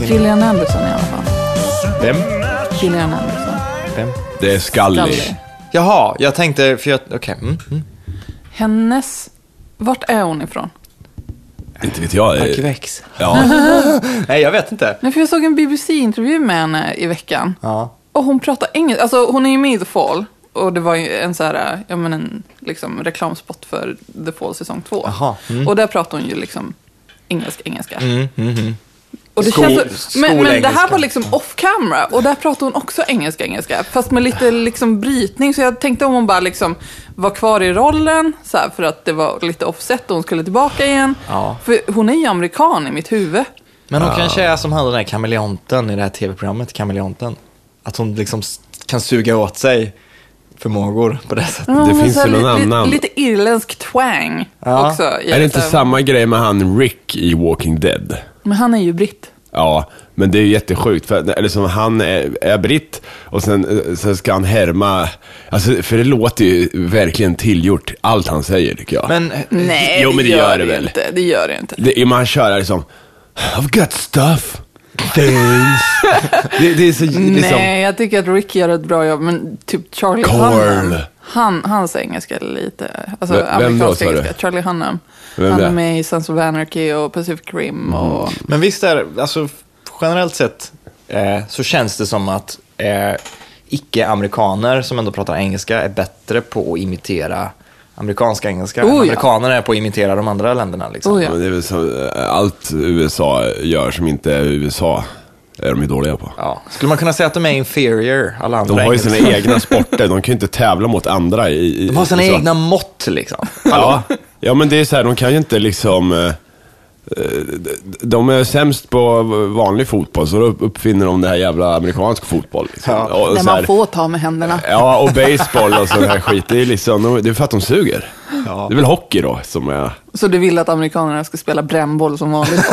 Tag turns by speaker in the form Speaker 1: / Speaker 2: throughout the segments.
Speaker 1: Gillian Anderson i alla fall.
Speaker 2: Vem?
Speaker 1: Gillian Anderson.
Speaker 2: Vem?
Speaker 3: Det är Scully.
Speaker 1: Scully.
Speaker 2: Jaha, jag tänkte, för jag, okej. mm, mm.
Speaker 1: Hennes... Vart är hon ifrån?
Speaker 3: Inte vet jag. eh,
Speaker 2: Arkivex.
Speaker 3: Ja.
Speaker 2: Nej, jag vet inte.
Speaker 1: Nej, för jag såg en BBC-intervju med henne i veckan.
Speaker 2: Ja.
Speaker 1: Och hon pratar engelska. Alltså hon är ju med i The Fall. Och det var ju en så här, ja men en liksom reklamspot för The Fall säsong två.
Speaker 2: Jaha,
Speaker 1: Och där pratar hon ju liksom engelska, engelska. Och det
Speaker 2: Skol-
Speaker 1: känns, men, men det här
Speaker 2: skolengelska.
Speaker 1: var liksom off camera och där pratade hon också engelska, engelska. Fast med lite liksom brytning. Så jag tänkte om hon bara liksom var kvar i rollen så här, för att det var lite offset och hon skulle tillbaka igen.
Speaker 2: Ja.
Speaker 1: För hon är ju amerikan i mitt huvud.
Speaker 2: Men hon kanske är som han den här kameleonten i det här tv-programmet Kameleonten. Att hon liksom s- kan suga åt sig förmågor på det sättet.
Speaker 1: Men hon har
Speaker 3: finns
Speaker 1: så här
Speaker 3: ju någon
Speaker 1: li- li-
Speaker 3: annan.
Speaker 1: Lite irländsk twang
Speaker 2: Ja.
Speaker 1: också. i
Speaker 3: Är det inte
Speaker 1: så här-
Speaker 3: samma grej med han Rick i Walking Dead?
Speaker 1: Men han är ju britt.
Speaker 3: Ja, men det är ju jättesjukt. För, att- eller som han är, är britt och sen, eh, sen ska han härma. Alltså, för det låter ju verkligen tillgjort, allt han säger tycker jag.
Speaker 2: Men
Speaker 1: Nej,
Speaker 3: Jo, men det gör det
Speaker 1: ju
Speaker 3: väl.
Speaker 1: Inte. Det gör det inte.
Speaker 3: Det, man kör här liksom, I've got stuff, things. det, det är så, liksom,
Speaker 1: Nej, jag tycker att Rick gör ett bra jobb, men typ Charlie
Speaker 3: Carl.
Speaker 1: Hunnam. Han, hans engelska är lite, alltså
Speaker 3: Vem- vem då,
Speaker 1: amerikansk
Speaker 3: sa du?
Speaker 1: engelska. Charlie Hunnam.
Speaker 3: Vem
Speaker 1: han
Speaker 3: det? Mm.
Speaker 1: är med i Sons of Anarchy och Pacific Rim och...
Speaker 2: Men visst är det, alltså generellt sett eh, så känns det som att eh, icke-amerikaner som ändå pratar engelska är bättre på att imitera amerikanska engelska.
Speaker 1: Oh, ja.
Speaker 2: Amerikaner är på att imitera de andra länderna. Liksom.
Speaker 1: Oh,
Speaker 3: Ja,
Speaker 1: ja.
Speaker 3: men det är väl så, eh, allt USA gör som inte är USA är de ju dåliga på.
Speaker 2: Ja. Skulle man kunna säga att de är inferior, alla andra
Speaker 3: De har ju
Speaker 2: engelska?
Speaker 3: sina egna sporter, de kan ju inte tävla mot andra i, i
Speaker 2: De har sina
Speaker 3: i- så-
Speaker 2: egna mått liksom.
Speaker 3: Ja. ja, men det är så här, de kan ju inte liksom... eh, eh, d- De är sämst på vanlig fotboll, så då uppfinner de det här jävla amerikansk fotboll. Liksom.
Speaker 2: Ja.
Speaker 3: Och
Speaker 1: Där
Speaker 3: så här- Äh,
Speaker 1: man får ta med händerna.
Speaker 3: Ja, och baseball och sån här skit. Det är, liksom, de- det är för att de suger. Det är väl hockey då som är...
Speaker 1: Så du vill att amerikanerna ska spela brännboll som vanligt?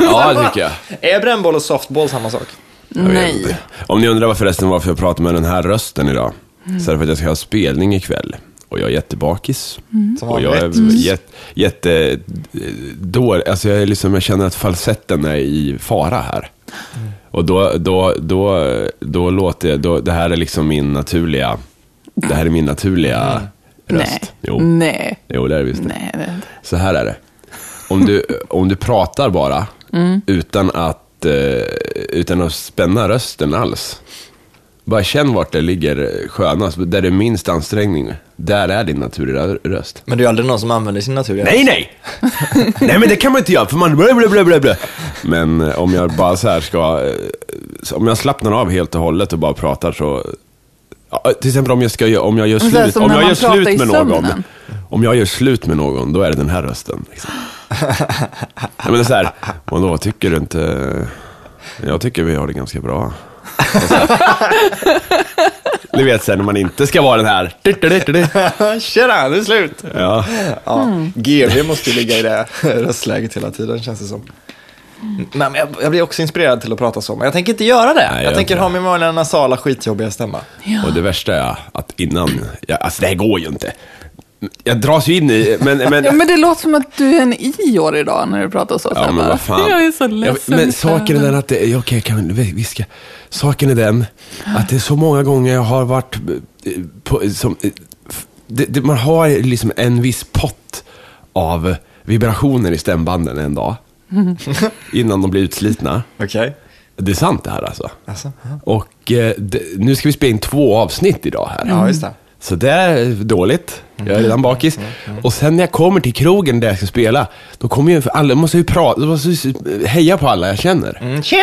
Speaker 3: Ja, det tycker jag.
Speaker 2: Är brännboll och softball samma sak?
Speaker 3: jag vet
Speaker 1: Nej.
Speaker 3: inte. Om ni undrar förresten varför jag pratar med den här rösten idag,
Speaker 1: Mm.
Speaker 3: så är det för att jag ska ha spelning ikväll. Och jag är jättebakis.
Speaker 1: Mm.
Speaker 2: Som
Speaker 3: Och jag är
Speaker 2: vanligt.
Speaker 3: jätte, jätte dår, alltså jag, är liksom, jag känner att falsetten är i fara här. Och då, då, då, då låter jag, då, det här är liksom min naturliga, det här är min naturliga
Speaker 1: Mm. Nej. Mm.
Speaker 3: röst. Jo.
Speaker 1: Nej.
Speaker 3: jo, det är det visst.
Speaker 1: Nej, det är inte.
Speaker 3: Så här är det. Om du, om du pratar bara, utan, att, eh, utan att spänna rösten alls. Bara känn vart det ligger skönast, där det är minst ansträngning. Där är din naturliga röst.
Speaker 2: Men det är ju aldrig någon som använder sin naturliga
Speaker 3: Nej, nej! nej, men det kan man inte göra, för man... Blä, blä, blä, blä, blä. Men eh, om jag bara så här ska... eh, så Om jag slappnar av helt och hållet och bara pratar så... Ja, eh, till exempel om jag, ska, gö- om jag gör
Speaker 1: Men så här
Speaker 3: slut,
Speaker 1: som
Speaker 3: om
Speaker 1: när
Speaker 3: jag
Speaker 1: man
Speaker 3: gör
Speaker 1: pratar
Speaker 3: slut
Speaker 1: i
Speaker 3: med någon.
Speaker 1: sömnen.
Speaker 3: Om jag gör slut med någon, då är det den här rösten. Liksom. Nej, men det är så här, vadå, tycker du inte... eh, Jag tycker vi har det ganska bra. Och så här. Ni vet sen när man inte ska vara den här.
Speaker 2: Nej. Tjena, nu är det slut!
Speaker 3: Ja.
Speaker 2: Ja, GV måste ju ligga i det röstläget hela tiden känns det som. Nej, men jag, jag blir också inspirerad till att prata så, men jag tänker inte göra det.
Speaker 3: Nej,
Speaker 2: jag
Speaker 3: jag
Speaker 2: tänker
Speaker 3: inte.
Speaker 2: ha min vanliga nasala skitjobbiga stämma.
Speaker 3: Och det värsta är att innan, jag, alltså det här går ju inte. Jag dras ju in i, men... men,
Speaker 1: Ja, men det låter som att du är en iår idag när du pratar så. Så
Speaker 3: ja,
Speaker 1: jag
Speaker 3: men
Speaker 1: bara,
Speaker 3: vad fan.
Speaker 1: Jag är så ledsen.
Speaker 3: Ja, men saken är den att, det, ja, okej, jag kan väl viska. Saken är den att det är så många gånger jag har varit eh, på, som, eh, f- det, det, man har liksom en viss pott av vibrationer i stämbanden en dag. Innan de blir utslitna.
Speaker 2: Okej?
Speaker 3: Det är sant det här alltså.
Speaker 2: Alltså,
Speaker 3: Och eh, det, nu ska vi spela in två avsnitt idag här.
Speaker 2: ja, just det. Mm.
Speaker 3: Så det är dåligt. Jag är redan bakis. Och sen när jag kommer till krogen där jag ska spela, då kommer ju, för alla måste ju prata, de måste ju heja på alla jag känner.
Speaker 2: Mm, Tjena!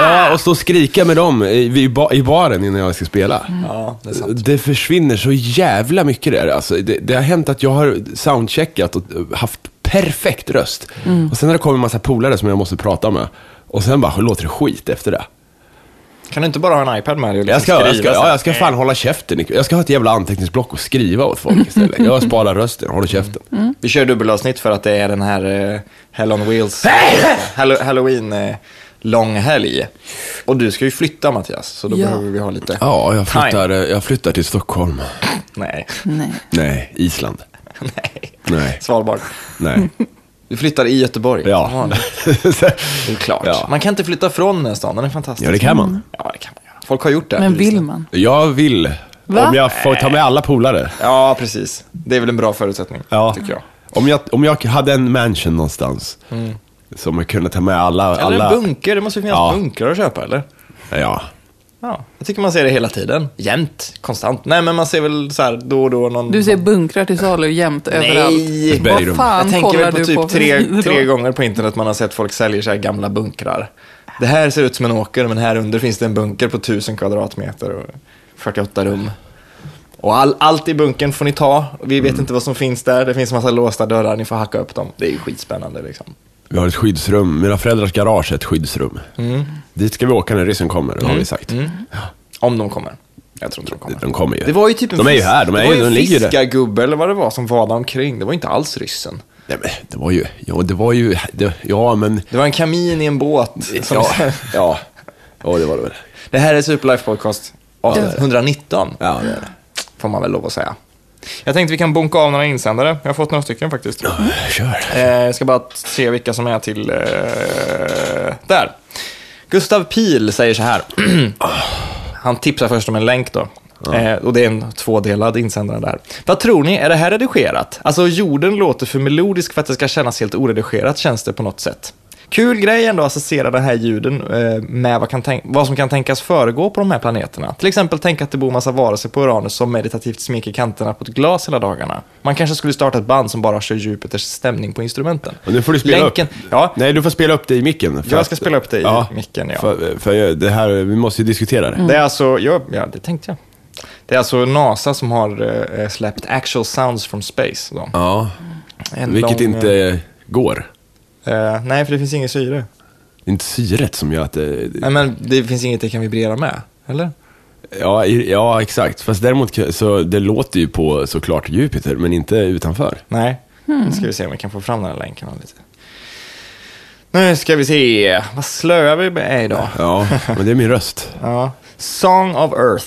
Speaker 3: Ja, och stå och skrika med dem i, vid ba, i baren innan jag ska spela.
Speaker 2: Ja, det är sant.
Speaker 3: Det försvinner så jävla mycket där. Alltså, det, det har hänt att jag har soundcheckat och eh, haft perfekt röst.
Speaker 2: Mm.
Speaker 3: Och sen när det kommer en massa polare som jag måste prata med, och sen bara låter det skit efter det.
Speaker 2: Kan du inte bara ha en iPad med dig och liksom
Speaker 3: Jag ska, jag, ska,
Speaker 2: skriva sen?
Speaker 3: ja, jag ska fan hålla käften. Nick. Jag ska ha ett jävla anteckningsblock och skriva åt folk istället. Jag sparar rösten, håller käften.
Speaker 2: Vi kör dubbelavsnitt för att det är den här eh, Hell on Wheels, Hallo- Halloween, eh, lång helg. Och du ska ju flytta Mattias, så då
Speaker 1: Ja.
Speaker 2: behöver vi ha lite...
Speaker 3: Ja, jag
Speaker 2: Time.
Speaker 3: flyttar, eh, jag flyttar till Stockholm.
Speaker 2: Nej,
Speaker 1: Nej.
Speaker 3: Nej, Island.
Speaker 2: nej.
Speaker 3: Nej,
Speaker 2: Svalbard.
Speaker 3: nej.
Speaker 2: Du flyttar i Göteborg. Som
Speaker 3: Ja.
Speaker 2: vanligt. Det är klart.
Speaker 3: Ja.
Speaker 2: Man kan inte flytta från den här stan, den är fantastisk.
Speaker 3: Ja, det kan man.
Speaker 2: Ja, det kan man göra. Folk har gjort det.
Speaker 1: Men vill
Speaker 2: bevisligen.
Speaker 1: man?
Speaker 3: Jag vill.
Speaker 1: Va?
Speaker 3: Om jag får ta med alla polare.
Speaker 2: Ja, precis. Det är väl en bra förutsättning,
Speaker 3: Ja.
Speaker 2: tycker jag.
Speaker 3: Om jag, om jag hade en mansion någonstans. Som jag kunde ta med alla.
Speaker 2: Mm. Eller
Speaker 3: alla
Speaker 2: en bunker, det måste ju finnas
Speaker 3: Ja.
Speaker 2: bunkrar att köpa, eller?
Speaker 3: Ja.
Speaker 2: Ja, jag tycker man ser det hela tiden. Jämt, konstant. Nej, men man ser väl så här då och då någon...
Speaker 1: Du ser bunkrar till salu jämt överallt.
Speaker 2: Nej!
Speaker 3: Vad Bergrum.
Speaker 1: fan
Speaker 2: jag tänker
Speaker 1: kollar
Speaker 2: väl på
Speaker 1: du
Speaker 2: typ
Speaker 1: på för
Speaker 2: tre,
Speaker 1: sidor?
Speaker 2: tre gånger på internet man har sett folk säljer så här gamla bunkrar. Det här ser ut som en åker, men här under finns det en bunker på 1000 kvadratmeter och 48 rum. Och all, allt i bunkern får ni ta. Vi vet
Speaker 3: Mm.
Speaker 2: inte vad som finns där. Det finns en massa låsta dörrar, ni får hacka upp dem. Det är ju skitspännande liksom.
Speaker 3: Vi har ett skyddsrum. Mina föräldrars garage är ett skyddsrum.
Speaker 2: Mm.
Speaker 3: Dit ska vi åka när ryssen kommer, har vi sagt.
Speaker 2: Om de kommer. Jag tror inte de kommer.
Speaker 3: De kommer ju.
Speaker 2: Det var ju typ en
Speaker 3: de är ju
Speaker 2: fisk-
Speaker 3: här. De, är
Speaker 2: det var
Speaker 3: ju, de
Speaker 2: en
Speaker 3: ligger ju där.
Speaker 2: fiskargubbe eller vad det var som vadade omkring. Det var inte alls ryssen.
Speaker 3: Nej, men det var ju... Ja, det var ju... Det, ja, men...
Speaker 2: Det var en kamin i en båt. Som
Speaker 3: Ja, ja. ja, det var det väl.
Speaker 2: Det här är Superlife Podcast av 119,
Speaker 3: Ja, det är det.
Speaker 2: får man väl lov att säga. Jag tänkte vi kan bonka av några insändare. Jag har fått några stycken faktiskt.
Speaker 3: Kör.
Speaker 2: Eh, jag ska bara se vilka som är till... Eh, där. Gustav Pil säger så här. Han tipsar först om en länk då. Eh, och det är en tvådelad insändare där. Vad tror ni, är det här redigerat? Alltså jorden låter för melodisk för att det ska kännas helt oredigerat känns det på något sätt. Kul grej ändå att associera den här ljuden eh, med vad, kan tänk- vad som kan tänkas föregå på de här planeterna. Till exempel tänka att det bor massa varelser på Uranus som meditativt smeker kanterna på ett glas hela dagarna. Man kanske skulle starta ett band som bara kör Jupiters stämning på instrumenten.
Speaker 3: Och nu får du spela
Speaker 2: Länken,
Speaker 3: upp.
Speaker 2: Ja,
Speaker 3: Nej, du får spela upp det i micken. för
Speaker 2: Jag
Speaker 3: att-
Speaker 2: ska spela upp det i micken, ja.
Speaker 3: För, för jag- det här, vi måste ju diskutera det.
Speaker 2: Det är alltså, ja, ja, det tänkte jag. Det är alltså NASA som har eh, släppt Actual Sounds from Space. Då.
Speaker 3: Ja,
Speaker 2: En
Speaker 3: vilket
Speaker 2: lång,
Speaker 3: inte går.
Speaker 2: eh, nej, för det finns inget syre.
Speaker 3: Det är inte syret som gör att det...
Speaker 2: Nej, men det finns inget det kan vibrera med, eller?
Speaker 3: Ja, i- ja, exakt. Fast däremot k- så det låter ju på såklart Jupiter, men inte utanför.
Speaker 2: Nej. Nu ska vi se om vi kan få fram den här länken. här Lite. Nu ska vi se, vad slöa vi är idag.
Speaker 3: Ja, men det är min röst.
Speaker 2: Ja. Song of Earth.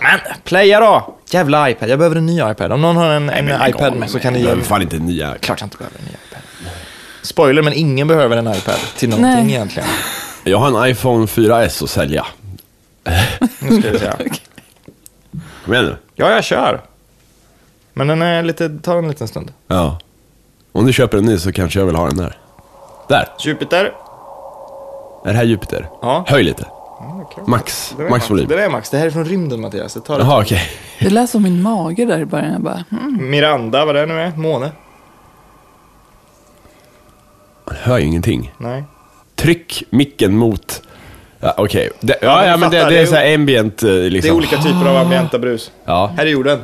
Speaker 2: Men, playa då! Jävla iPad, jag behöver en ny iPad. Om någon har en, en iPad så kan ni ge
Speaker 3: Jag fan inte nya.
Speaker 2: Klart jag inte behöver en ny iPad. Spoiler, men ingen behöver en iPad till någonting
Speaker 1: Nej.
Speaker 2: egentligen.
Speaker 3: Jag har en iPhone 4S att sälja.
Speaker 2: Nu ska vi se.
Speaker 3: Kom igen nu.
Speaker 2: Ja, jag kör. Men den är lite, tar en liten stund.
Speaker 3: Ja. Om du köper en ny så kanske jag vill ha den där. Där!
Speaker 2: Jupiter.
Speaker 3: Är det här Jupiter?
Speaker 2: Ja.
Speaker 3: Höj lite.
Speaker 2: Ja, okej.
Speaker 3: Max.
Speaker 2: Det där är
Speaker 3: Max volym.
Speaker 2: Det där är Max. Det här är från rymden, Mattias. Det tar
Speaker 3: Jaha, okej.
Speaker 1: Det lät som min mage där i början. Jag bara, mm.
Speaker 2: Miranda, vad det nu är. Måne.
Speaker 3: Man hör ju ingenting.
Speaker 2: Nej.
Speaker 3: Tryck micken mot... Ja, okej. Det- Ja, ja, men det,
Speaker 2: fattar,
Speaker 3: det
Speaker 2: det
Speaker 3: är
Speaker 2: är
Speaker 3: så här ambient eh,
Speaker 2: Det är
Speaker 3: liksom.
Speaker 2: olika typer av ambienta brus.
Speaker 3: Ja.
Speaker 2: Här är jorden.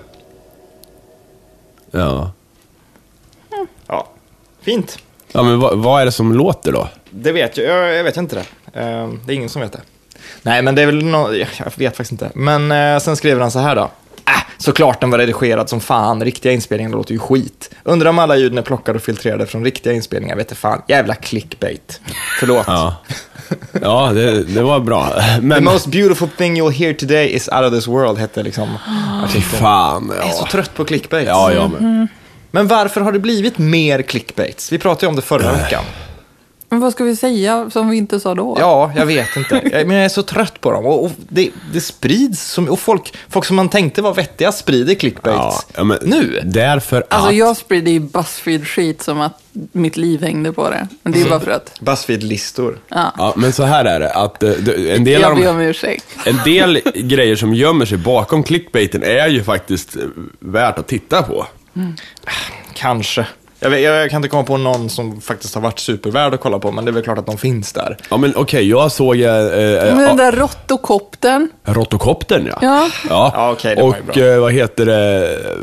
Speaker 3: Ja.
Speaker 2: Ja. Fint.
Speaker 3: Ja, men vad, vad är det som låter då?
Speaker 2: Det vet jag. Jag, jag vet inte det. Ehm, det är ingen som vet det. Nej, men det är väl nå. Jag jag vet faktiskt inte. Men eh, sen skriver han så här då. Äh, såklart den var redigerad som fan. Riktiga inspelningar låter ju skit. Undrar om alla ljuden är plockade och filtrerade från riktiga inspelningar. Vet du fan. Jävla clickbait. Förlåt.
Speaker 3: Ja, ja det, det var bra. Men
Speaker 2: The most beautiful thing you'll hear today is out of this world, hette liksom
Speaker 3: fy
Speaker 2: artikeln.
Speaker 3: fan.
Speaker 2: Jag är så
Speaker 3: Ja,
Speaker 2: trött på clickbait.
Speaker 3: ja, ja
Speaker 1: Mm.
Speaker 3: men.
Speaker 2: Men varför har det blivit mer clickbaits? Vi pratade ju om det förra veckan.
Speaker 1: men vad ska vi säga som vi inte sa då?
Speaker 2: Ja, jag vet inte. Jag- Men jag är så trött på dem. Och, och det, det sprids, som, och folk, folk som man tänkte var vettiga sprider
Speaker 3: Ja,
Speaker 2: clickbaits.
Speaker 3: ja, men
Speaker 2: Nu?
Speaker 3: Därför
Speaker 1: Alltså
Speaker 3: att...
Speaker 1: jag sprider ju Buzzfeed-skit som att mitt liv hängde på det. Men det
Speaker 2: Mm.
Speaker 1: är bara för att
Speaker 2: Buzzfeed-listor.
Speaker 3: Ja, men så här är det, att eh, det- en del,
Speaker 1: jag
Speaker 3: av
Speaker 1: ber
Speaker 3: de,
Speaker 1: om ursäkt.
Speaker 3: en del grejer som gömmer sig bakom clickbaiten är ju faktiskt eh, värt att titta på.
Speaker 2: Kanske. Jag, vet, jag kan inte komma på någon som faktiskt har varit supervärd att kolla på, men det är väl klart att de finns där.
Speaker 3: Ja, men okej, jag såg... Eh, eh,
Speaker 1: Men den
Speaker 3: ja,
Speaker 1: där råttokoptern.
Speaker 3: Rottokoptern, ja.
Speaker 1: Ja.
Speaker 2: Ja, okej, det var ju
Speaker 3: Och
Speaker 2: bra.
Speaker 3: eh, vad heter det? eh,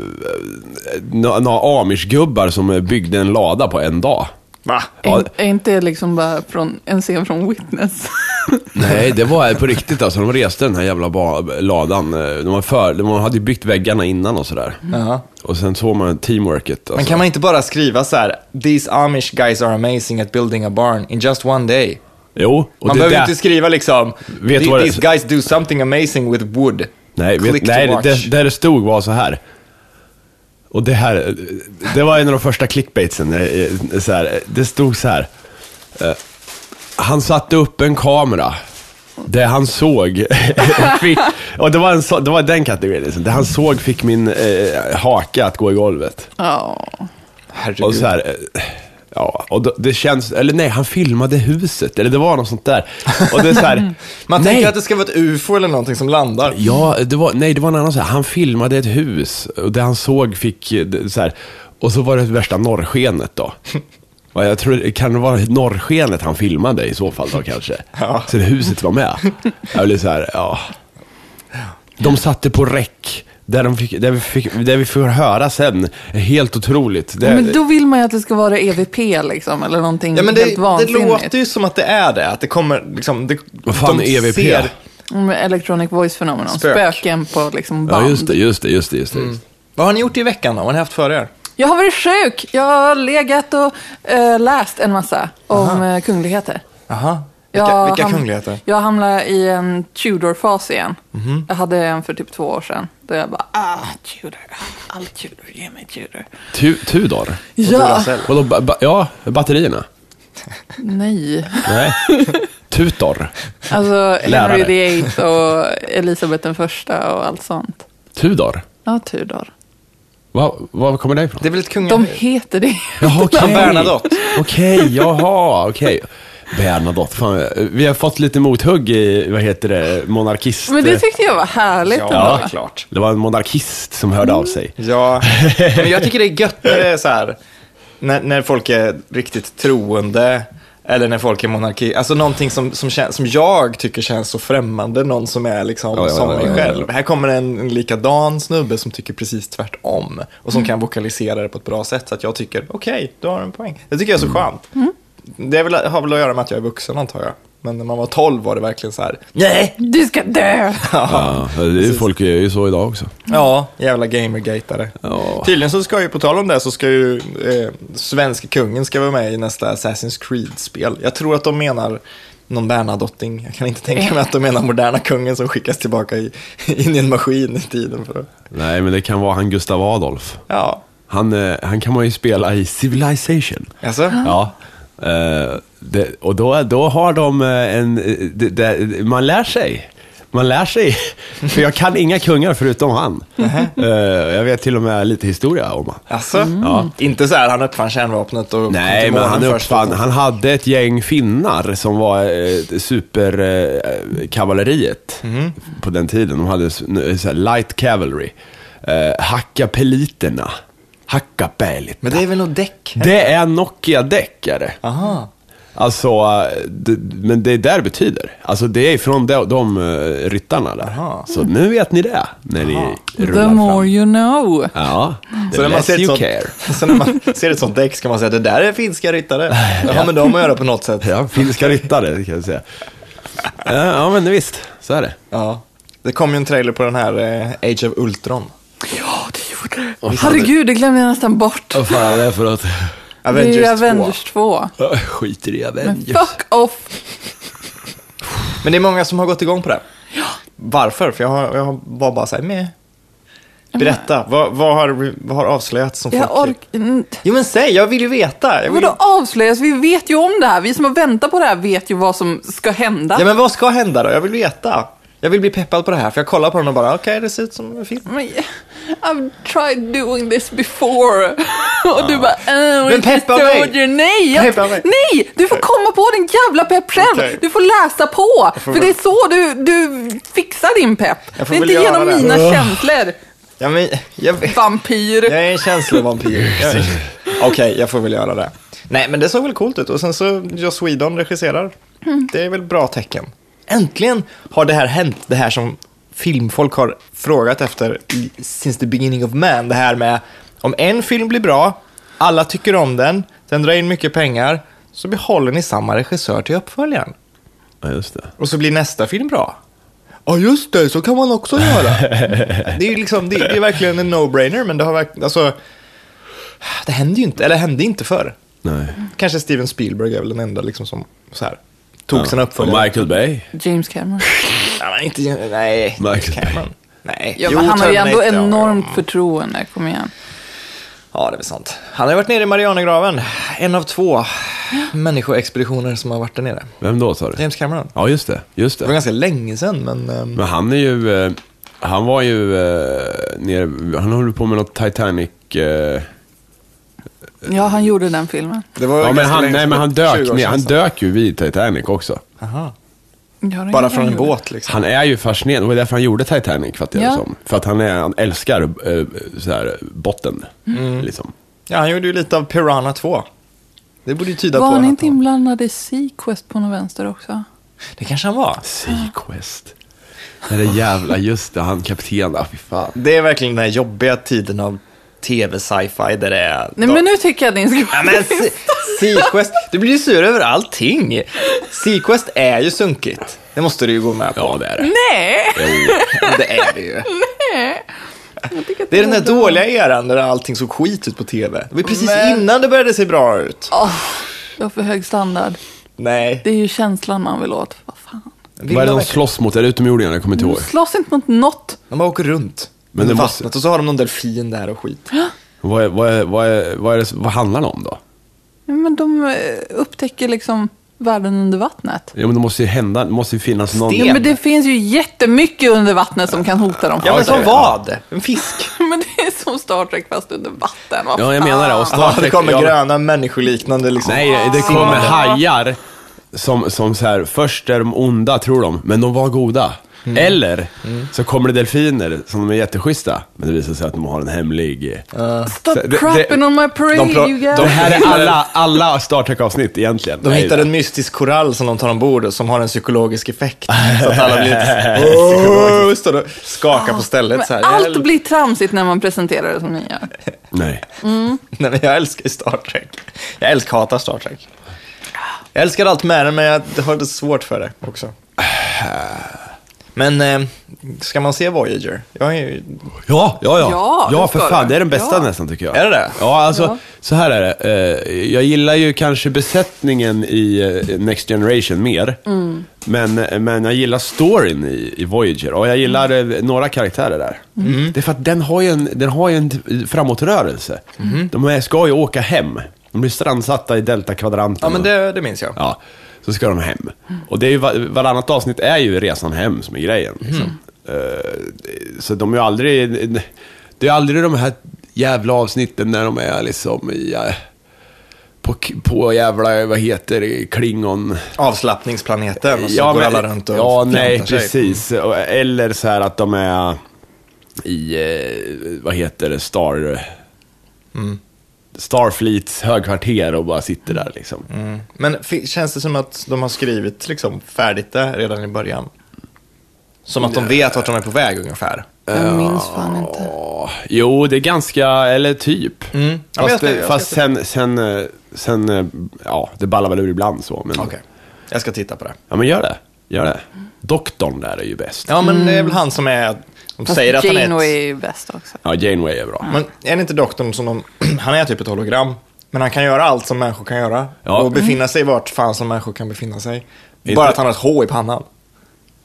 Speaker 3: Några några amish-gubbar som eh, byggde en lada på en dag.
Speaker 2: Va?
Speaker 3: Ja.
Speaker 1: Är, är inte det liksom bara från, en scen från Witness?
Speaker 3: Nej, det var på riktigt alltså. De reste den här jävla ba- ladan. Eh, De, var för, de hade ju byggt väggarna innan och sådär.
Speaker 2: Ja.
Speaker 3: Och sen såg man teamworket.
Speaker 2: Men
Speaker 3: Alltså.
Speaker 2: kan man inte bara skriva så här, “These Amish guys are amazing at building a barn in just one day”?
Speaker 3: Jo, och
Speaker 2: Man
Speaker 3: det
Speaker 2: behöver
Speaker 3: där...
Speaker 2: inte skriva liksom,
Speaker 3: Vet
Speaker 2: "The-
Speaker 3: vad det-
Speaker 2: “These guys do something amazing with wood”.
Speaker 3: Nej, vet,
Speaker 2: Click to
Speaker 3: nej
Speaker 2: watch.
Speaker 3: det, där det stod var så här. Och det här, det var en av de första clickbaitsen. eh, Så här, det stod så här. eh, Han satte upp en kamera. Det han såg fick, och det var, en, så- det var den kategorin, liksom. det han såg fick min eh, haka att gå i golvet.
Speaker 1: Ja.
Speaker 2: Herregud.
Speaker 3: Och så här, eh, ja, och då, det känns, eller nej, han filmade huset, eller det var något sånt där. Och det är så här,
Speaker 2: Man
Speaker 3: nej.
Speaker 2: tänker att det ska vara ett ufo eller någonting som landar.
Speaker 3: Ja, det var, nej, det var en annan så här. Han filmade ett hus och det han såg fick eh, det- så här. Och så var det värsta norrskenet då. Ja, Jag tror, kan det vara norrskenet han filmade i så fall då kanske?
Speaker 2: Ja.
Speaker 3: Så det huset var med. Jag blev så här, ja. De satte på räck. Där, de fick, där, vi fick, där vi får höra sen. Helt otroligt. Det,
Speaker 1: Men då vill man ju att det ska vara EVP liksom, eller någonting
Speaker 2: Ja, men det,
Speaker 1: helt
Speaker 2: det
Speaker 1: vansinnigt.
Speaker 2: låter ju som att det är det. Att det kommer liksom... Det,
Speaker 3: Vad fan
Speaker 2: de
Speaker 3: är E EVP?
Speaker 2: ser-
Speaker 1: Mm, Electronic voice fenomen.
Speaker 2: Spök.
Speaker 1: Spöken på liksom band. Mm.
Speaker 3: ja, just det, just det, just det. Just det.
Speaker 2: Vad har ni gjort i veckan då? Vad har ni haft för er?
Speaker 1: Jag har varit sjuk. Jag har legat och eh, läst en massa om eh, kungligheter.
Speaker 2: Aha. Vilka,
Speaker 1: Jag
Speaker 2: vilka
Speaker 1: ham-
Speaker 2: kungligheter? Mhm.
Speaker 1: Jag hamnade i en Tudor-fas igen. Jag hade en för typ två år sedan. Där jag bara, ah, Tudor, allt Tudor, ge mig Tudor.
Speaker 3: Tu, Tudor?
Speaker 1: Ja,
Speaker 2: Duracell.
Speaker 3: Vadå, ba, ba, ja, batterierna?
Speaker 1: nej.
Speaker 3: Nej. Tutor?
Speaker 1: Alltså
Speaker 3: Lärare.
Speaker 1: Henry VIII och Elisabeth den första och allt sånt.
Speaker 3: Tudor?
Speaker 1: Ja, Tudor.
Speaker 3: Var, var kommer det ifrån?
Speaker 2: Det är väl ett
Speaker 1: De
Speaker 2: kungahus?
Speaker 1: heter det.
Speaker 3: Jaha, okej.
Speaker 2: Som Bernadotte.
Speaker 3: Okej, jaha, okej. Bernadotte, fan, vi har fått lite mothugg i, vad heter det, monarkist...
Speaker 1: Men det tyckte jag var härligt
Speaker 2: Ja,
Speaker 1: ändå.
Speaker 2: klart.
Speaker 3: Det var en monarkist som hörde av sig.
Speaker 1: Mm.
Speaker 2: Ja, men jag tycker det är gött när det är så här, när, när folk är riktigt troende eller när folk är monarki. Alltså någonting som, som, kän, som jag tycker känns så främmande, någon som är liksom
Speaker 3: Ja, ja,
Speaker 2: som
Speaker 3: ja,
Speaker 2: mig
Speaker 3: ja, ja.
Speaker 2: själv. Här kommer en, en likadan snubbe som tycker precis tvärtom och
Speaker 3: Mm.
Speaker 2: som kan vokalisera det på ett bra sätt så att jag tycker okej, du har en poäng. Det tycker jag är
Speaker 3: Mm.
Speaker 2: så skönt. Det är väl, har väl att göra med att jag är vuxen antar jag. Men när man var 12 var det verkligen så här, nej!
Speaker 1: Du ska dö!
Speaker 3: Ja, det är ju, folk är ju så idag också.
Speaker 2: Ja, jävla gamergateare.
Speaker 3: Ja.
Speaker 2: Tydligen så ska ju, på tal om det, så ska ju eh, svenska kungen ska vara med i nästa Assassin's Creed-spel. Jag tror att de menar någon Bernadotting. Jag kan inte tänka mig att de menar moderna kungen som skickas tillbaka i, in i en maskin i tiden. För att,
Speaker 3: Nej, men det kan vara han Gustav Adolf.
Speaker 2: ja,
Speaker 3: Han, eh, han kan man ju spela i Civilization.
Speaker 2: alltså.
Speaker 3: Ja. Eh, det, och då, då har de eh, en... eh, Det, det, man lär sig. Man lär sig. För jag kan inga kungar förutom han. Eh, jag vet till och med lite historia om han.
Speaker 2: Alltså, inte så här han uppfann kärnvapnet och kom
Speaker 3: Nej,
Speaker 2: till
Speaker 3: men han
Speaker 2: månen först.
Speaker 3: uppfann, han hade ett gäng finnar som var eh, superkavalleriet eh, kavalleriet på den tiden. De hade s- n- eh, så här, light cavalry. Eh, hackapeliterna. Hackapelit.
Speaker 2: Men det är väl något däck?
Speaker 3: Det är Nokia-däck är det.
Speaker 2: Aha.
Speaker 3: Alltså, eh, det, men det är där det betyder. Alltså det är från de, de eh, ryttarna där.
Speaker 2: Aha.
Speaker 3: Så nu vet ni det, när ni rullar
Speaker 1: The more
Speaker 3: fram.
Speaker 1: you know.
Speaker 3: Ja, the
Speaker 2: Så när, man
Speaker 3: less
Speaker 2: ser ett
Speaker 3: you
Speaker 2: sånt,
Speaker 3: care.
Speaker 2: så när man ser ett sånt däck ska man säga det där är finska ryttare. Det har med dem att göra på något sätt.
Speaker 3: Ja, finska ryttare det kan jag säga. Ja, Ja, men visst, så är det.
Speaker 2: Ja. Det kom ju en trailer på den här eh, Age of Ultron.
Speaker 1: Ja, det gjorde det. Herregud, det glömde jag nästan bort.
Speaker 3: Vad fan är det för något?
Speaker 1: Det är ju
Speaker 2: Avengers 2.
Speaker 1: Avengers 2.
Speaker 3: Skiter i Avengers.
Speaker 1: Fuck off!
Speaker 2: Men det är många som har gått igång på det. Varför? För jag, har, jag har- var bara så här med. Berätta, vad, vad, har, vad har avslöjats som
Speaker 1: Jag
Speaker 2: folk...
Speaker 1: orkar mm,
Speaker 2: Jo men säg, jag vill ju veta. Jag vill...
Speaker 1: Vadå avslöjas? Vi vet ju om det här. Vi som har väntat på det här vet ju vad som ska hända.
Speaker 2: Ja men vad ska hända då? Jag vill veta. Jag vill bli peppad på det här, för jag kollar på den och bara, okej det ser ut som en film.
Speaker 1: Men, I've tried doing this before. Och du bara, äh,
Speaker 2: Ah. Men peppa mig.
Speaker 1: Nej, jag,
Speaker 2: Peppa mig.
Speaker 1: nej, du får komma på din jävla pepp själv.
Speaker 2: Okej.
Speaker 1: Du får läsa på.
Speaker 2: får
Speaker 1: för
Speaker 2: väl-
Speaker 1: det är så du, du fixar din pepp.
Speaker 2: Jag får
Speaker 1: Det är
Speaker 2: väl
Speaker 1: inte
Speaker 2: göra
Speaker 1: genom
Speaker 2: det.
Speaker 1: mina känslor,
Speaker 2: Ja, men, jag,
Speaker 1: vampyr.
Speaker 2: jag är en känslovampyr. Jag- Okej, jag får väl göra det. Nej men det såg väl coolt ut och sen så Joss Whedon regisserar. Det är väl bra tecken. Äntligen har det här hänt, det här som filmfolk har frågat efter i, since the beginning of man. Det här med om en film blir bra, alla tycker om den, den drar in mycket pengar, så behåller ni samma regissör till uppföljaren.
Speaker 3: Ja, just det.
Speaker 2: Och så blir nästa film bra. Ja, just det, så kan man också göra. det, är ju liksom, det, det är verkligen en no-brainer, men det har verkligen, alltså, det hände ju inte, eller hände inte förr.
Speaker 3: Nej.
Speaker 2: Kanske Steven Spielberg är väl den enda liksom som så här, tog sina
Speaker 3: Och
Speaker 2: uppföljare.
Speaker 3: Michael Bay.
Speaker 1: James Cameron.
Speaker 2: Ja, men inte, nej,
Speaker 3: Michael.
Speaker 2: Cameron. Nej.
Speaker 1: Ja, men han har ju ändå
Speaker 2: Terminator, ja,
Speaker 1: enormt förtroende, kom igen.
Speaker 2: Ja, det är väl sant. Han har ju varit nere i Marianergraven. En av två människoexpeditioner som har varit där nere.
Speaker 3: Vem då sa du?
Speaker 2: James Cameron.
Speaker 3: Ja, just det. Just
Speaker 2: Det var
Speaker 3: det.
Speaker 2: ganska länge sedan, men... ehm,
Speaker 3: Men han är ju... eh, Han var ju eh, nere... Han håller på med något Titanic... eh,
Speaker 1: Ja, han gjorde den filmen.
Speaker 2: Det var
Speaker 3: Ja, men
Speaker 2: ganska
Speaker 3: han,
Speaker 2: länge
Speaker 3: nej, men
Speaker 2: sedan.
Speaker 3: han
Speaker 2: 20
Speaker 3: dök
Speaker 2: år
Speaker 3: ner.
Speaker 2: sedan.
Speaker 3: Han dök ju vid Titanic också.
Speaker 2: Aha.
Speaker 1: Ja, det
Speaker 2: Bara
Speaker 1: gjorde
Speaker 2: från
Speaker 1: han
Speaker 2: en
Speaker 1: gjorde.
Speaker 2: båt liksom.
Speaker 3: Han är ju fascinerad. Det var därför han gjorde Titanic, fattar jag
Speaker 1: Ja.
Speaker 3: det som. För att han, är, han älskar eh, så här, botten. Liksom.
Speaker 2: Ja, han gjorde ju lite av Piranha 2. Det borde ju tyda på
Speaker 1: Var han
Speaker 2: att
Speaker 1: inte inblandad i Sequest på någon vänster också?
Speaker 2: Det kanske han var.
Speaker 3: Sequest. Det där jävla, just det, han kapten. Ah, fy fan.
Speaker 2: Det är verkligen den här jobbiga tiden av tv-sci-fi där det är...
Speaker 1: Nej, men nu tycker jag att ni ska...
Speaker 2: Ja, men Se- Sequest, du blir ju sur över allting. Sequest är ju sunkigt. Det måste du ju gå med på.
Speaker 3: Ja, det är det.
Speaker 1: Nej!
Speaker 2: det är det ju.
Speaker 1: Jag tycker att
Speaker 2: Det är den där
Speaker 1: bra.
Speaker 2: dåliga eran där allting såg skit ut på tv. Det var ju precis
Speaker 1: Men-
Speaker 2: innan det började se bra ut.
Speaker 1: Åh, det var för hög standard.
Speaker 2: Nej.
Speaker 1: Det är ju känslan man vill åt. Vad fan.
Speaker 3: Vad är det de slåss mot? Är det utomjordingar? Jag kommer inte
Speaker 1: De
Speaker 3: ihåg.
Speaker 1: slåss inte mot något.
Speaker 2: De bara åker runt.
Speaker 3: Men
Speaker 2: Men
Speaker 3: det
Speaker 2: det
Speaker 3: måste-
Speaker 2: vattnet och så har de någon delfin där och skit.
Speaker 3: Vad, är, vad, är, vad, är, vad, är det, vad handlar det om då?
Speaker 1: Ja, Men de eh, upptäcker liksom världen under vattnet.
Speaker 3: Ja, men det måste ju hända, det måste ju finnas någon...
Speaker 2: Sten.
Speaker 1: Ja, men det finns ju jättemycket under vattnet som kan hota dem. Alltså,
Speaker 2: Ja, men
Speaker 3: så är
Speaker 2: som
Speaker 3: det.
Speaker 2: vad? En fisk.
Speaker 1: Men det är som Star Trek fast under vatten. Vad
Speaker 3: Ja, jag
Speaker 1: fan?
Speaker 3: menar det. Och Star
Speaker 2: Ja, det
Speaker 3: Trek-
Speaker 2: kommer
Speaker 3: ja,
Speaker 2: gröna människoliknande liksom.
Speaker 3: Nej, det kommer hajar som, som så här, först är de onda tror de, men de var goda. Eller så kommer det delfiner som de är jätteschyssta, men det visar sig att de har en hemlig...
Speaker 1: Stop
Speaker 3: Det- det-
Speaker 1: crapping on my parade
Speaker 2: de pra-
Speaker 1: you
Speaker 2: de
Speaker 3: Det
Speaker 1: guys.
Speaker 3: här är alla, alla Star Trek-avsnitt egentligen.
Speaker 2: De
Speaker 3: Nej,
Speaker 2: hittar en mystisk korall som de tar ombord och som har en psykologisk effekt. Så att alla blir lite...
Speaker 3: Oh,
Speaker 2: Åh, står och skakar på stället så här.
Speaker 1: Men
Speaker 2: Jag
Speaker 1: allt
Speaker 2: äl-
Speaker 1: blir tramsigt när man presenterar det som ni gör.
Speaker 3: Nej.
Speaker 2: Nej, men jag älskar Star Trek. Jag älskar hatar Star Trek. Jag älskar allt med det, men jag har det svårt för det också. Men eh, ska man se Voyager? Jag är ju...
Speaker 3: Ja, ja, ja.
Speaker 1: Ja,
Speaker 3: ja
Speaker 1: det
Speaker 3: för
Speaker 1: ska
Speaker 3: fan.
Speaker 1: du.
Speaker 3: Det är den bästa
Speaker 1: Ja.
Speaker 3: nästan tycker jag.
Speaker 2: Är det det?
Speaker 3: Ja, alltså
Speaker 1: Ja.
Speaker 3: så här är det. Eh, Jag gillar ju kanske besättningen i eh, Next Generation mer.
Speaker 1: Mm.
Speaker 3: Men, men jag gillar storyn i, i Voyager och jag gillar
Speaker 1: Mm.
Speaker 3: eh, några karaktärer där.
Speaker 2: Mm.
Speaker 3: Det är för att den har ju en, den har ju en t- framåtrörelse.
Speaker 2: Mm.
Speaker 3: De är, ska ju åka hem. De blir strandsatta i Delta-kvadranten.
Speaker 2: Ja, men det, det minns jag.
Speaker 3: Ja, så ska de hem. Och det är ju, va- varannat avsnitt är ju resan hem som är grejen. Liksom.
Speaker 2: Mm.
Speaker 3: Eh, så de är ju aldrig... Det är aldrig de här jävla avsnitten när de är liksom i... eh, På, på jävla, vad heter det, Klingon...
Speaker 2: Avslappningsplaneten och så Alltså, går
Speaker 3: men-
Speaker 2: alla runt och
Speaker 3: Ja,
Speaker 2: fjantar
Speaker 3: nej,
Speaker 2: sig.
Speaker 3: precis. Och- Eller så här att de är i, eh, vad heter det, Star...
Speaker 2: Mm.
Speaker 3: Starfleets högkvarter och bara sitter där liksom.
Speaker 2: Mm. Men fi- känns det som att de har skrivit liksom, färdigt det redan i början? Som att de vet vart de är på väg ungefär?
Speaker 1: Jag minns fan inte.
Speaker 3: Ja, Jo, det är ganska, eller typ.
Speaker 2: Mm. Ja, men jag
Speaker 3: Fast,
Speaker 2: ska-
Speaker 3: det-
Speaker 2: jag ska
Speaker 3: fast sen, sen, eh, sen, eh, ja, det ballar väl ur ibland så. Men,
Speaker 2: Okej, jag ska titta på det.
Speaker 3: Ja, men gör det. Gör det. Doktorn där är ju bäst. Ja,
Speaker 2: Ja, men det är väl han som är... De
Speaker 1: Fast
Speaker 2: säger att han är...
Speaker 1: Janeway
Speaker 2: Ett,
Speaker 1: är ju bäst också.
Speaker 3: Janeway är bra.
Speaker 2: men är det inte doktorn som de... han är typ ett hologram. Men han kan göra allt som människor kan göra.
Speaker 3: Ja. Mm.
Speaker 2: Och befinna sig vart fan som människor kan befinna sig.
Speaker 3: Inte-
Speaker 2: Bara att han har ett H i pannan.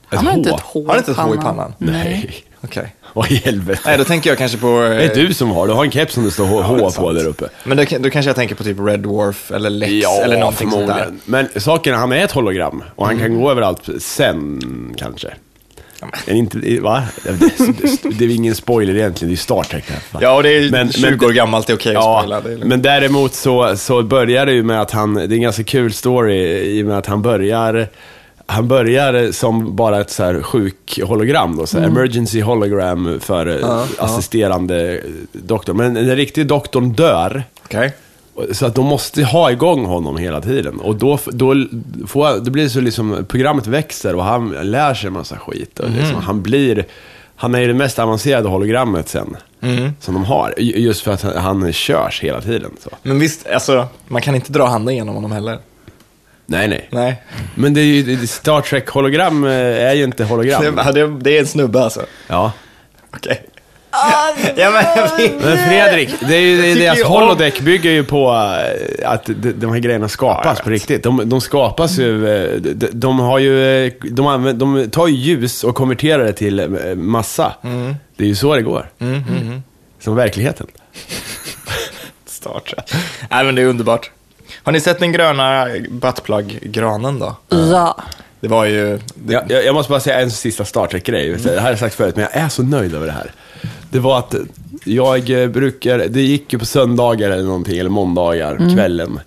Speaker 3: Ett
Speaker 1: Han har
Speaker 3: H.
Speaker 1: inte ett hår
Speaker 2: Har han inte ett H i pannan?
Speaker 1: Nej.
Speaker 3: Nej.
Speaker 2: Okej.
Speaker 3: Vad i helvete.
Speaker 2: Nej, då tänker jag kanske på... eh,
Speaker 3: det är du som har, du har en keps som det står H, H på där uppe.
Speaker 2: Men då, då kanske jag tänker på typ Red Dwarf eller Lex eller någonting sånt där. Mm.
Speaker 3: Men saken är, han är ett hologram och han kan gå överallt sen kanske. Men inte, va? Det, det, det är ingen spoiler egentligen, det är Star Trek. det här, fan.
Speaker 2: Ja, och det är
Speaker 3: Men- men-
Speaker 2: 20 år gammalt, det är okej att spoila. Det är lugnt.
Speaker 3: men däremot så, så börjar det ju med att han, det är en ganska kul story i och med att han börjar, han börjar som bara ett så här sjuk hologram då, så
Speaker 2: Mm.
Speaker 3: här, emergency hologram för eh, assisterande doktor. Men den riktiga doktorn dör.
Speaker 2: Okej.
Speaker 3: Så att de måste ha igång honom hela tiden. Och då, då, får, då blir det så liksom, programmet växer och han lär sig en massa skit. Och
Speaker 2: Mm.
Speaker 3: liksom, Han blir, han är ju det mest avancerade hologrammet sen,
Speaker 2: Mm.
Speaker 3: som de har. Ju- Just för att han, han körs hela tiden. Så.
Speaker 2: Men visst, alltså, man kan inte dra handen genom honom heller.
Speaker 3: Nej, nej.
Speaker 2: Nej.
Speaker 3: Men det är ju, det- Star Trek-hologram eh, är ju inte
Speaker 2: Det,
Speaker 3: hologram.
Speaker 2: ja, det, det är en snubbe alltså.
Speaker 3: Ja.
Speaker 2: Okej. Ja, men jag vet.
Speaker 3: Men Fredrik, det är ju, det är
Speaker 2: tycker
Speaker 3: deras
Speaker 2: ju om-
Speaker 3: holodeck bygger ju på eh, att de, de här grejerna
Speaker 2: Ja, jag
Speaker 3: skapas
Speaker 2: vet.
Speaker 3: på riktigt. De, de skapas ju, eh, de, de har ju, eh, de, använder, de tar ju ljus och konverterar det till
Speaker 2: Mm.
Speaker 3: eh, massa. Det är ju så det går. Som verkligheten.
Speaker 2: Star Trek. Nej, men det är underbart. Har ni sett den gröna buttplug-granen då?
Speaker 1: Ja.
Speaker 2: Det var ju... Det,
Speaker 3: Jag, jag, jag måste bara säga en sista Star Trek-grej. Det här har jag sagt förut, men jag är så nöjd över det här. Det var att jag eh, brukar, det gick ju på söndagar eller någonting, eller måndagar, kvällen,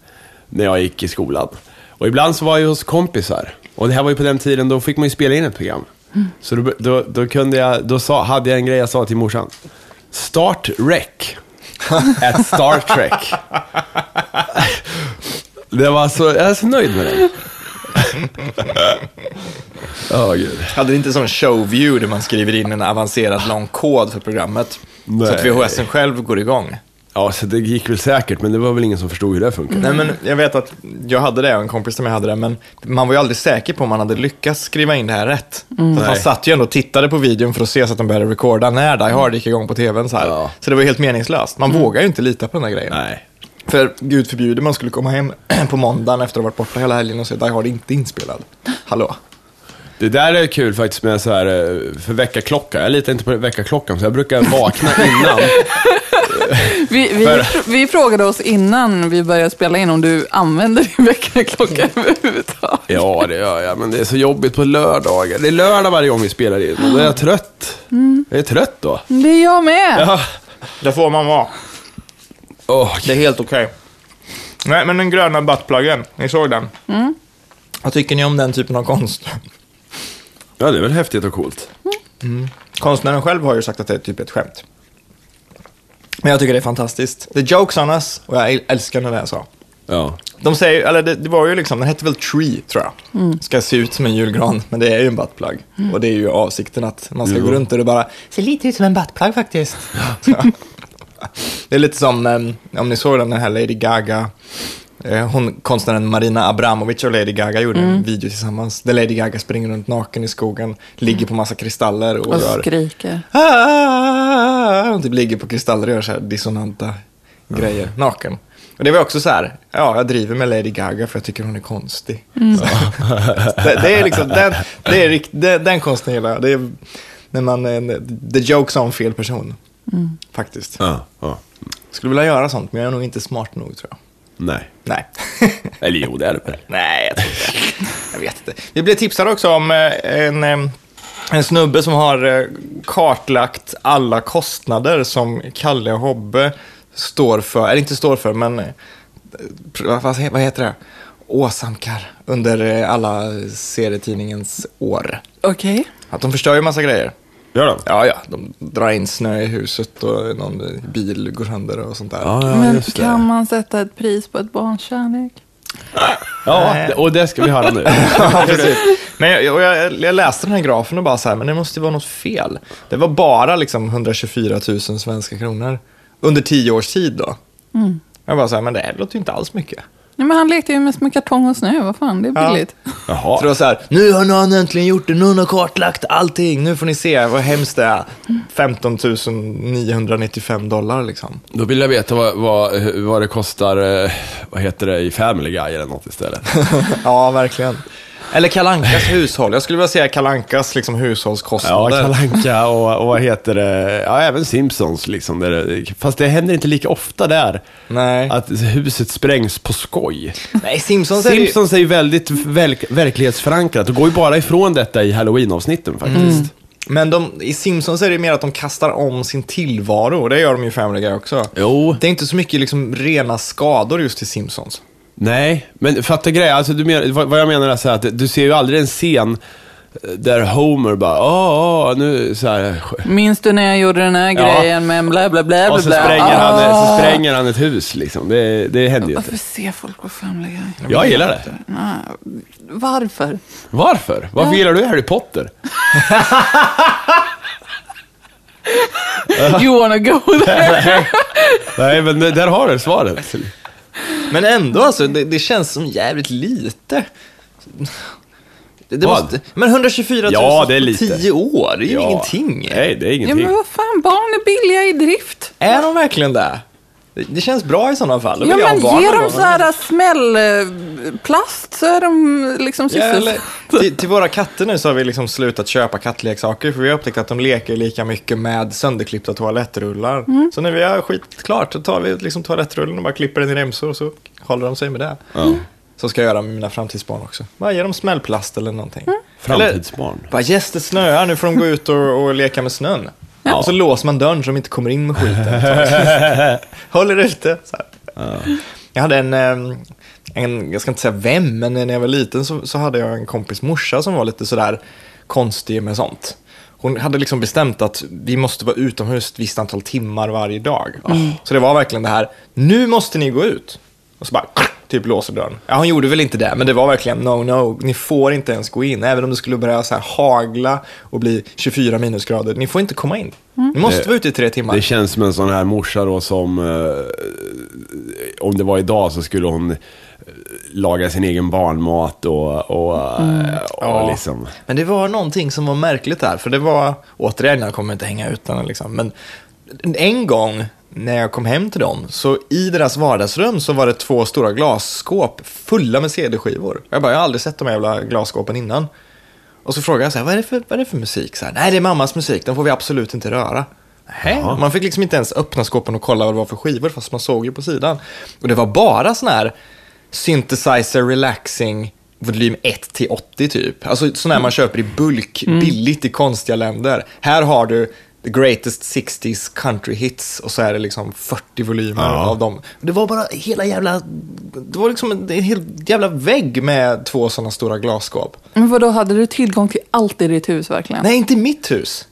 Speaker 3: när jag gick i skolan. Och ibland så var jag ju hos kompisar. Och det här var ju på den tiden, då fick man ju spela in ett program. Så då, då, då kunde jag, då sa, hade jag en grej jag sa till morsan. Start Rec. At Star Trek. Det var så, jag är så nöjd med det. Åh gud.
Speaker 2: Hade ni inte sån showview där man skriver in en avancerad lång kod för programmet? Så
Speaker 3: Nej.
Speaker 2: att VHSen själv går igång.
Speaker 3: Ja, så det gick väl säkert, men det var väl ingen som förstod hur det funkar.
Speaker 2: Nej, men jag vet att jag hade det och en kompis till mig hade det, men man var ju aldrig säker på om man hade lyckats skriva in det här rätt. Så att man
Speaker 3: Mm. Nej.
Speaker 2: satt ju ändå och tittade på videon för att se så att de började recorda när Die Hard gick igång på tvn. Så, här.
Speaker 3: Ja. Mm.
Speaker 2: så det var ju helt meningslöst. Man vågar ju inte lita på den här grejen.
Speaker 3: Nej.
Speaker 2: För gud förbjude man skulle komma hem på måndagen efter att ha varit borta hela helgen och se Die Hard inte inspelad. Hallå?
Speaker 3: Det där är kul faktiskt med så här, eh, för väckarklocka. Jag litar inte på väckarklockan, så jag brukar vakna innan.
Speaker 1: Vi, vi, vi frågade oss innan vi började spela in om du använder din väckarklocka
Speaker 2: Mm.
Speaker 1: överhuvudtaget.
Speaker 3: ja, det gör jag, men det är så jobbigt på lördagar. Det är lördag varje gång vi spelar in, och då är jag trött. Jag är trött då.
Speaker 1: Det är jag med.
Speaker 3: Ja.
Speaker 2: Det får man vara.
Speaker 3: Åh,
Speaker 2: Det är helt okej. Nej, men den gröna buttpluggen, ni såg den?
Speaker 3: Mm.
Speaker 2: Vad tycker ni om den typen av konst?
Speaker 3: ja, det är väl häftigt och coolt.
Speaker 2: Konstnären själv har ju sagt att det är typ ett skämt. Men jag tycker det är fantastiskt. The joke's on us, och jag äl- älskar när det är så.
Speaker 3: Ja.
Speaker 2: De säger, eller det, det var ju liksom, den hette väl Tree, tror jag. Ska se ut som en julgran, men det är ju en buttplug. Och det är ju avsikten att man ska gå runt och det bara ser lite ut som en buttplug faktiskt. Så. det är lite som, eh, om ni såg den här Lady Gaga, eh, hon, konstnären Marina Abramovic och Lady Gaga gjorde en video tillsammans där Lady Gaga springer runt naken i skogen, ligger på massa kristaller och,
Speaker 1: Och
Speaker 2: gör...
Speaker 1: skriker.
Speaker 2: Ah, Hon typ ligger på kristaller och gör så här dissonanta grejer, naken. Och det var också så här, ja, jag driver med Lady Gaga för jag tycker hon är konstig. Så. Det, det är liksom, den, det är rikt, den, den konsten gillar jag. Det är när man, är en- the joke's on fel person. Faktiskt.
Speaker 3: ja, ja.
Speaker 2: Skulle vilja göra sånt, men jag är nog inte smart nog tror jag.
Speaker 3: Nej.
Speaker 2: Nej.
Speaker 3: Eller jo, det är det väl.
Speaker 2: Nej, jag tror inte Jag vet inte. Vi blev tipsade också om eh, en, eh, en snubbe som har eh, kartlagt alla kostnader som Kalle och Hobbe står för, eller inte står för, men eh, pr- vad he- vad heter det? Åsamkar under eh, alla serietidningens år.
Speaker 1: Okej.
Speaker 2: Att de förstör ju massa grejer.
Speaker 3: Gör de?
Speaker 2: Ja, ja, de drar in snö i huset och någon bil går sönder och sånt där.
Speaker 3: Ja, ja,
Speaker 1: Men
Speaker 3: just det.
Speaker 1: kan man sätta ett pris på ett barns kärlek?
Speaker 3: Ja, det- och det ska vi höra nu.
Speaker 2: Ja, precis. Men jag, och jag, jag läste den här grafen och bara så här, men det måste ju vara något fel. Det var bara liksom 124 000 svenska kronor under tio års tid då. Jag bara så här, men det här låter ju inte alls mycket.
Speaker 1: Nej, men han lekte ju mest med kartong och snö. Vad fan, det
Speaker 2: Ja.
Speaker 1: är billigt.
Speaker 2: Så det
Speaker 3: Jaha.
Speaker 2: var så här, nu har någon äntligen gjort det, någon har kartlagt allting, nu får ni se vad hemskt det är. 15 995 dollar liksom.
Speaker 3: Då vill jag veta vad, vad, vad det kostar, eh, vad heter det, i Family Guy eller något istället.
Speaker 2: Ja, verkligen. Eller Kalankas hushåll. Jag skulle vilja säga Kalankas liksom,
Speaker 3: Ja,
Speaker 2: hushållskostnader.
Speaker 3: Kalle Anka och, och vad heter det? Ja, även Simpsons liksom. Där, det- fast det händer inte lika ofta där.
Speaker 2: Nej.
Speaker 3: Att huset sprängs på skoj.
Speaker 2: Nej, Simpsons är det ju...
Speaker 3: Simpsons är ju väldigt verk, verklighetsförankrat och går ju bara ifrån detta i halloween-avsnitten faktiskt.
Speaker 2: Mm. Men de, i Simpsons är det mer att de kastar om sin tillvaro. och Det gör de ju i Family Guy också.
Speaker 3: Jo.
Speaker 2: Det är inte så mycket liksom rena skador just i Simpsons.
Speaker 3: Nej, men fatta grejen. Alltså, du men, vad, vad jag menar är så här, att du ser ju aldrig en scen eh, där Homer bara, åh, åh, nu så här.
Speaker 1: Minns du när jag gjorde den här
Speaker 3: Ja.
Speaker 1: grejen med bla bla bla bla?
Speaker 3: Och så
Speaker 1: bla? Alltså,
Speaker 3: spränger,
Speaker 1: Ah.
Speaker 3: han, så spränger han ett hus liksom. Det, det händer ju inte.
Speaker 1: Varför ser folk på Family Guy?
Speaker 3: Jag gillar det.
Speaker 1: Nej, Varför?
Speaker 3: Varför? Varför gillar du Harry Potter?
Speaker 1: You wanna go there?
Speaker 3: Nej, men där har du svaret.
Speaker 2: Men ändå, alltså, det, det känns som jävligt lite. Det, det
Speaker 3: Vad?
Speaker 2: måste, men 124 000
Speaker 3: Ja, det är
Speaker 2: på
Speaker 3: lite.
Speaker 2: 10 år, det är ju ingenting.
Speaker 3: Nej, det är
Speaker 1: Ja,
Speaker 3: ingenting.
Speaker 1: men vad fan, barn är billiga i drift.
Speaker 2: Är de verkligen det? Det känns bra i sådana fall. Då
Speaker 1: Ja,
Speaker 2: vill jag ha
Speaker 1: men
Speaker 2: barn
Speaker 1: ge
Speaker 2: någon
Speaker 1: dem
Speaker 2: gång.
Speaker 1: så här smällplast så är de liksom
Speaker 2: Ja,
Speaker 1: sysselsatta.
Speaker 2: eller, till, till våra katter nu så har vi liksom slutat köpa kattleksaker för vi har upptäckt att de leker lika mycket med sönderklippta toalettrullar. Så när vi har skitklart så tar vi liksom toalettrullen och bara klipper den i remsor och så håller de sig med det. Så ska jag göra med mina framtidsbarn också. Bara ge dem smällplast eller någonting.
Speaker 3: Framtidsbarn.
Speaker 2: Eller, bara yes det snöar, nu får de gå ut och, och leka med snön. Och så låser man dörren så de inte kommer in med skiten. Håller ute. Så här. Jag hade en, eh, en, jag ska inte säga vem, men när jag var liten så, så hade jag en kompis morsa som var lite sådär konstig med sånt. Hon hade liksom bestämt att vi måste vara utomhus ett visst antal timmar varje dag. Så det var verkligen det här, nu måste ni gå ut. Och så bara, typ låser dörren. Ja, hon gjorde väl inte det, men det var verkligen no, no. Ni får inte ens gå in, även om det skulle börja så här hagla och bli 24 minusgrader. Ni får inte komma in. Ni måste vara ute i tre timmar.
Speaker 3: Det känns som en sån här morsa då som, eh, om det var idag så skulle hon eh, laga sin egen barnmat och, och,
Speaker 1: Mm.
Speaker 3: eh, och
Speaker 2: Ja.
Speaker 3: liksom.
Speaker 2: Men det var någonting som var märkligt där, för det var, återigen, jag kommer inte hänga ut den liksom, men en gång när jag kom hem till dem, så i deras vardagsrum så var det två stora glasskåp fulla med CD-skivor. Jag bara, jag har aldrig sett de här jävla glasskåpen innan. Och så frågade jag så här, vad är det för, vad är det för musik? Så här, Nej, det är mammas musik, den får vi absolut inte röra. Nähä. Man fick liksom inte ens öppna skåpen och kolla vad det var för skivor, fast man såg ju på sidan. Och det var bara sån här synthesizer relaxing volym 1 till 80 typ. Alltså sån här man köper i bulk, billigt i konstiga länder. Här har du the greatest 60s country hits och så är det liksom 40 volymer
Speaker 3: Ja.
Speaker 2: av dem. Det var bara hela jävla, det var liksom en, en hel jävla vägg med två sådana stora glasskåp.
Speaker 1: Men vadå, hade du tillgång till allt i ditt hus verkligen?
Speaker 2: Nej, inte i mitt hus.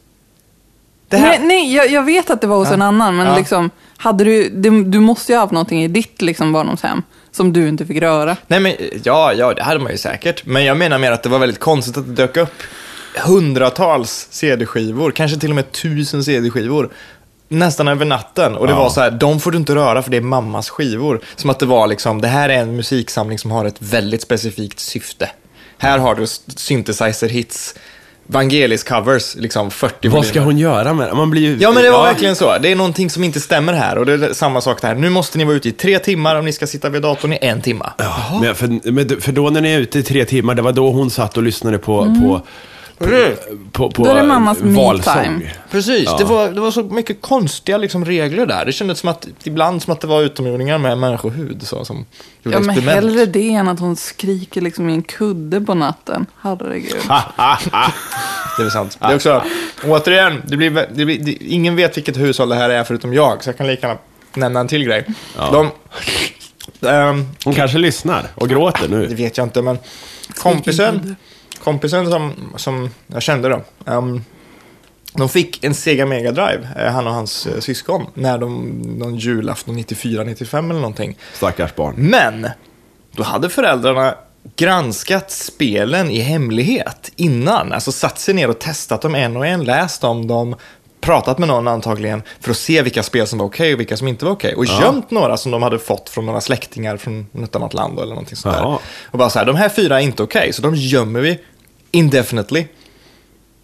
Speaker 2: Det här...
Speaker 1: Nej, nej jag, jag vet att det var hos en annan, men
Speaker 2: Ja.
Speaker 1: liksom, hade du, du, du måste ju ha haft någonting i ditt liksom, barndomshem som du inte fick röra.
Speaker 2: Nej, men ja, ja, det hade man ju säkert. Men jag menar mer att det var väldigt konstigt att det dök upp hundratals CD-skivor, kanske till och med tusen CD-skivor, nästan över natten. Och det
Speaker 3: Ja.
Speaker 2: var så här, de får du inte röra för det är mammas skivor. Som att det var liksom, det här är en musiksamling som har ett väldigt specifikt syfte. Här har du s- synthesizer-hits, Vangelis-covers, liksom 40
Speaker 3: Vad ska
Speaker 2: volymer.
Speaker 3: hon göra med det? Man blir ju...
Speaker 2: Ja, men det var verkligen så. Det är någonting som inte stämmer här. Och det är samma sak där. Nu måste ni vara ute i tre timmar om ni ska sitta vid datorn i en timme.
Speaker 3: Ja, men för, men för då när ni är ute i tre timmar, det var då hon satt och lyssnade på, på,
Speaker 2: Precis.
Speaker 3: på, på
Speaker 1: Mm. Då är det mammas me time.
Speaker 2: Precis. Det, var, det var så mycket konstiga liksom, regler där. Det kändes som att, ibland som att det var utomjordingar med människohud så, som gjorde
Speaker 1: Ja, men
Speaker 2: experiment.
Speaker 1: hellre det än att hon skriker liksom i en kudde på natten. Herregud.
Speaker 2: Det är sant. Det är också, återigen, det blir, det blir, det, ingen vet vilket hushåll det här är förutom jag, så jag kan lika gärna nämna en till grej. De, ehm,
Speaker 3: Hon kanske lyssnar och gråter
Speaker 2: Det
Speaker 3: nu.
Speaker 2: vet jag inte, men kompisen, kompisen som, som jag kände då, ehm, de fick en Sega Mega Drive, eh, han och hans eh, syskon, när de, någon julafton 94-95 eller någonting.
Speaker 3: Stackars barn.
Speaker 2: Men, då hade föräldrarna granskat spelen i hemlighet innan. Alltså satt sig ner och testat dem en och en, läst om dem, pratat med någon antagligen för att se vilka spel som var okej och vilka som inte var okej. Och gömt några som de hade fått från några släktingar från något annat land eller någonting sånt där.
Speaker 3: Jaha.
Speaker 2: Och bara så här, de här fyra är inte okej, så de gömmer vi indefinitely.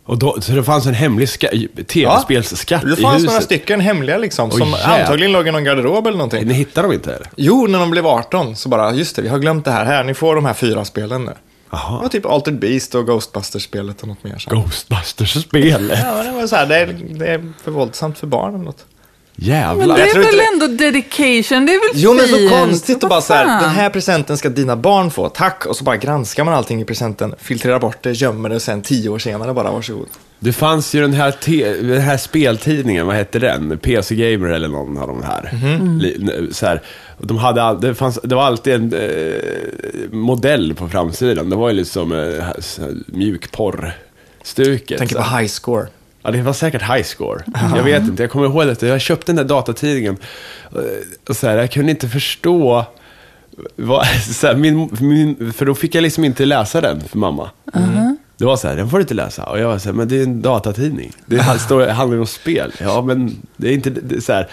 Speaker 3: Och då, så det fanns en hemlig ska- tv-spelsskatt
Speaker 2: Det fanns
Speaker 3: i
Speaker 2: några
Speaker 3: huset.
Speaker 2: stycken hemliga liksom,
Speaker 3: Åh,
Speaker 2: som
Speaker 3: jävlar.
Speaker 2: antagligen låg i någon garderob eller någonting.
Speaker 3: Ni hittar dem inte eller?
Speaker 2: Jo, när de blev 18 så bara, just det, vi har glömt det här. Här, ni får de här fyra spelen nu.
Speaker 3: Jaha.
Speaker 2: Det var typ Altered Beast och Ghostbusters-spelet och något mer. Så. här.
Speaker 3: Ghostbusters-spel.
Speaker 2: Ja, men det var så här, det är, det är för våldsamt för barn eller något.
Speaker 1: Men
Speaker 3: Jävlar.
Speaker 1: det är
Speaker 2: tror inte
Speaker 1: väl
Speaker 2: det-
Speaker 1: ändå dedication, det är väl
Speaker 2: Jo, men så
Speaker 1: fint?
Speaker 2: konstigt att
Speaker 1: Vad
Speaker 2: bara så här,
Speaker 1: fan?
Speaker 2: den här presenten ska dina barn få, tack. Och så bara granskar man allting i presenten, filtrerar bort det, gömmer det och sen tio år senare bara, varsågod.
Speaker 3: Det fanns ju den här, te- den här speltidningen, vad hette den? PC Gamer eller någon av de här.
Speaker 2: Mhm.
Speaker 3: Li- Så här och de hade all- det, fanns, det var alltid en eh, modell på framsidan. Det var ju liksom eh, så här mjukporrstuket.
Speaker 2: Tänker
Speaker 3: Så här.
Speaker 2: på high score.
Speaker 3: Ja, det var säkert highscore. Jag vet inte, jag kommer ihåg att jag köpte den där datatidningen. eh, Och så här, jag kunde inte förstå. Vad, så här, min, min, för då fick jag liksom inte läsa den för mamma. Det var så här, den får du inte läsa. Och jag var så här, men det är en datatidning. Det står, handlar ju om spel. Ja, men det är inte det är så här.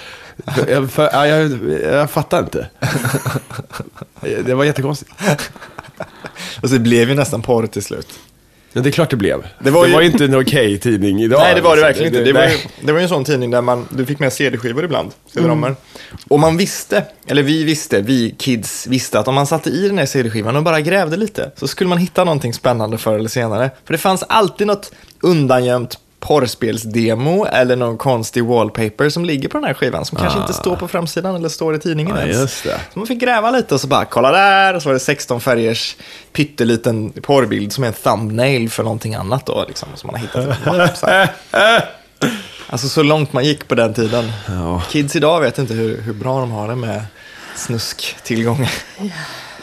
Speaker 3: Jag, för, ja, jag, jag fattar inte. Det var jättekonstigt.
Speaker 2: Och så blev ju nästan porr till slut.
Speaker 3: Ja, det är klart det blev. Det
Speaker 2: Det
Speaker 3: var
Speaker 2: var
Speaker 3: ju,
Speaker 2: ju-
Speaker 3: inte en okej tidning idag. Liksom.
Speaker 2: Nej, det var det verkligen inte. Det var, ju,
Speaker 3: nej.
Speaker 2: det var ju en sån tidning där man, du fick med CD-skivor ibland,
Speaker 3: Mm.
Speaker 2: CD-rommer. Och man visste, eller vi visste, vi kids visste att om man satte i den här CD-skivan och bara grävde lite så skulle man hitta någonting spännande förr eller senare. För det fanns alltid något undangömt porrspelsdemo eller någon konstig wallpaper som ligger på den här skivan som kanske inte står på framsidan eller står i tidningen
Speaker 3: Ah. Ja,
Speaker 2: ens.
Speaker 3: just det.
Speaker 2: Så man fick gräva lite och så bara, kolla där, och så var det 16 färgers pytteliten porrbild som är en thumbnail för någonting annat då, liksom, som man har hittat i en mapp. Så här. Alltså så långt man gick på den tiden.
Speaker 3: Ja.
Speaker 2: Kids idag vet inte hur, hur bra de har det med snusktillgång.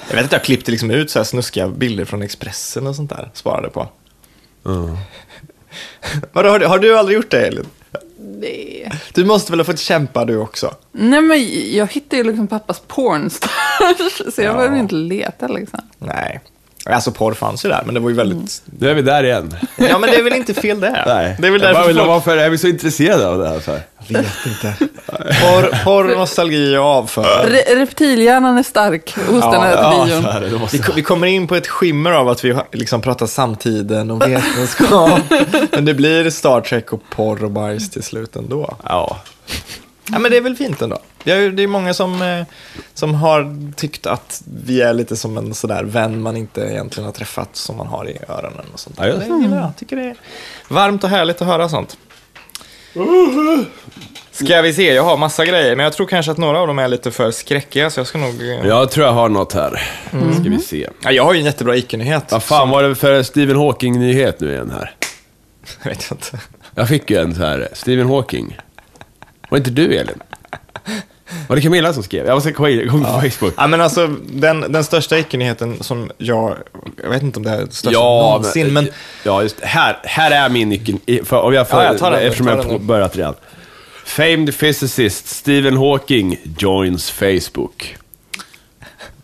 Speaker 2: Jag vet att jag klippte liksom ut så här snuskiga bilder från Expressen och sånt där, sparade på.
Speaker 3: Ja.
Speaker 2: Vadå, har, du, har du aldrig gjort det Elin?
Speaker 1: Nej.
Speaker 2: Du måste väl ha fått kämpa du också?
Speaker 1: Nej, men jag hittade ju liksom pappas pornstars, så jag behöver inte leta liksom.
Speaker 2: Nej. Alltså porr fanns ju där, men det var ju väldigt...
Speaker 3: Nu är vi där igen.
Speaker 2: Ja, men det är väl inte fel det?
Speaker 3: Nej.
Speaker 2: Det är väl
Speaker 3: jag bara
Speaker 2: därför
Speaker 3: vill,
Speaker 2: folk...
Speaker 3: varför är vi så intresserade av det här för?
Speaker 2: vet inte. Porr, porr nostalgi och avföring.
Speaker 1: Re reptilhjärnan är stark hos den här trion.
Speaker 3: det, då måste...
Speaker 2: Vi, ko- vi kommer in på ett skimmer av att vi har- liksom pratar samtiden och vetenskap. men det blir Star Trek och porr och bajs till slut ändå.
Speaker 3: Ja.
Speaker 2: Ja, men det är väl fint ändå. Det är, ju- det är många som, eh, som har tyckt att vi är lite som en sådär vän man inte egentligen har träffat som man har i öronen och sånt.
Speaker 3: Ja, just det.
Speaker 2: det gillar jag. Tycker det är varmt och härligt att höra sånt. Ska vi se, jag har massa grejer, men jag tror kanske att några av dem är lite för skräckiga, så jag ska nog... eh,
Speaker 3: Jag tror jag har något här.
Speaker 2: Mm.
Speaker 3: Ska vi se.
Speaker 2: Ja, jag har ju en jättebra icke-nyhet.
Speaker 3: Vad fan var det för Stephen Hawking-nyhet nu igen här?
Speaker 2: Jag vet inte.
Speaker 3: Jag fick ju en så här, Stephen Hawking. Var inte du Elin? Var det Camilla som skrev? Jag måste kolla in- gå in på Facebook.
Speaker 2: Ja, men alltså, den, den största icke-nyheten som jag... Jag vet inte om det är största någonsin,
Speaker 3: eh,
Speaker 2: men...
Speaker 3: Ja, just det. här, här är min nyckel. i- För, om jag får,
Speaker 2: Ja, jag tar den nu,
Speaker 3: eftersom
Speaker 2: ta
Speaker 3: jag
Speaker 2: den nu.
Speaker 3: har börjat redan. Famed physicist Stephen Hawking joins Facebook.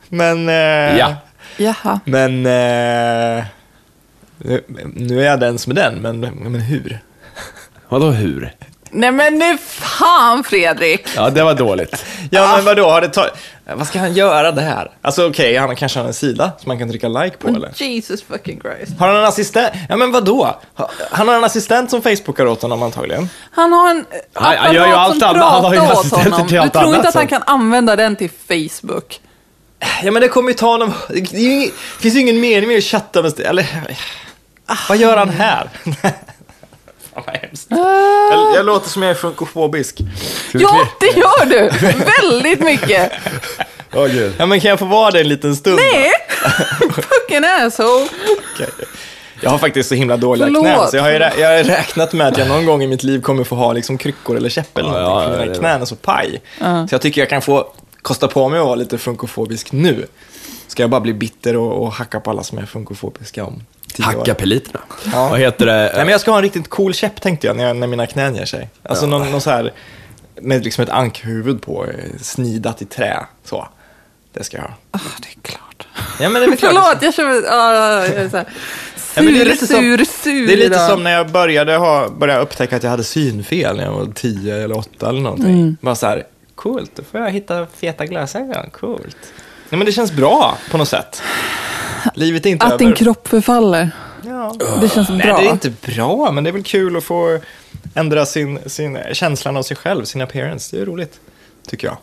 Speaker 2: Men... Eh,
Speaker 3: Ja.
Speaker 1: Jaha.
Speaker 2: Men... Eh, nu- nu är jag inte ens med den, men, men hur?
Speaker 3: Vadå hur?
Speaker 1: Nej men nu fan Fredrik!
Speaker 3: Ja, det var dåligt.
Speaker 2: Ja, men vadå? Har det ta... Vad ska han göra det här? Alltså okej, han kanske har en sida som man kan trycka like på, eller?
Speaker 1: Jesus fucking Christ.
Speaker 2: Har han en assistent? Ja, men vadå? Ha- Han har en assistent som facebookar åt honom antagligen.
Speaker 1: Han har en eh,
Speaker 3: Han- han gör ju
Speaker 1: apparat som
Speaker 3: allt annat. Han har ju
Speaker 1: pratar åt
Speaker 2: alltså
Speaker 3: assistenter
Speaker 1: honom.
Speaker 3: till allt
Speaker 1: Du tror
Speaker 3: annat
Speaker 1: inte att han
Speaker 3: sen.
Speaker 1: kan använda den till Facebook?
Speaker 2: Ja, men det kommer ju ta honom... Det, är ju ing... det finns ju ingen mening med att chatta med... st- Eller...
Speaker 1: Ah.
Speaker 2: Vad gör han här? Fan vad hemskt. Jag, jag låter som jag är funkofobisk.
Speaker 1: Ah. Ja, det gör du! Väldigt mycket!
Speaker 3: Åh gud.
Speaker 2: Ja, men kan jag få vara det en liten stund?
Speaker 1: Nej! fucking asshole!
Speaker 2: Okej. Jag har faktiskt så himla dåliga
Speaker 1: Förlåt.
Speaker 2: knän, så jag har, ju rä- jag har räknat med att jag någon gång i mitt liv kommer få ha liksom kryckor eller käpp eller
Speaker 3: Ja,
Speaker 2: någonting,
Speaker 3: ja,
Speaker 2: för
Speaker 3: ja,
Speaker 2: mina
Speaker 3: det-
Speaker 2: knän är så paj. Så jag tycker jag kan få kosta på mig att vara lite funkofobisk nu. Ska jag bara bli bitter och, och hacka på alla som är funkofobiska om tio år?
Speaker 3: Hacka peliterna.
Speaker 2: Ja.
Speaker 3: Vad heter det?
Speaker 2: Nej, men jag ska ha en riktigt cool käpp tänkte jag när, jag, när mina knän ger sig. Alltså någon, någon så här, med liksom ett ankhuvud på, eh, snidat i trä. Så. Det ska jag ha.
Speaker 1: Ah, det är klart.
Speaker 2: Ja, men det är väl klart det ska-
Speaker 1: Förlåt, jag känner... ah, jag är så här
Speaker 2: Ja, men det är
Speaker 1: Sur,
Speaker 2: lite som-
Speaker 1: sur, sur.
Speaker 2: Det är lite
Speaker 1: idag.
Speaker 2: som när jag började, ha, började upptäcka att jag hade synfel när jag var 10 eller 8 eller någonting.
Speaker 1: Mm.
Speaker 2: Bara så här, coolt, då får jag hitta feta glasögon, coolt. Nej men det känns bra på något sätt. Livet är inte
Speaker 1: Att
Speaker 2: över.
Speaker 1: din kropp förfaller.
Speaker 2: Ja.
Speaker 1: Det känns
Speaker 2: Nej,
Speaker 1: bra.
Speaker 2: det är inte bra, men det är väl kul att få ändra sin, sin känslan av sig själv, sin appearance. Det är ju roligt, tycker jag.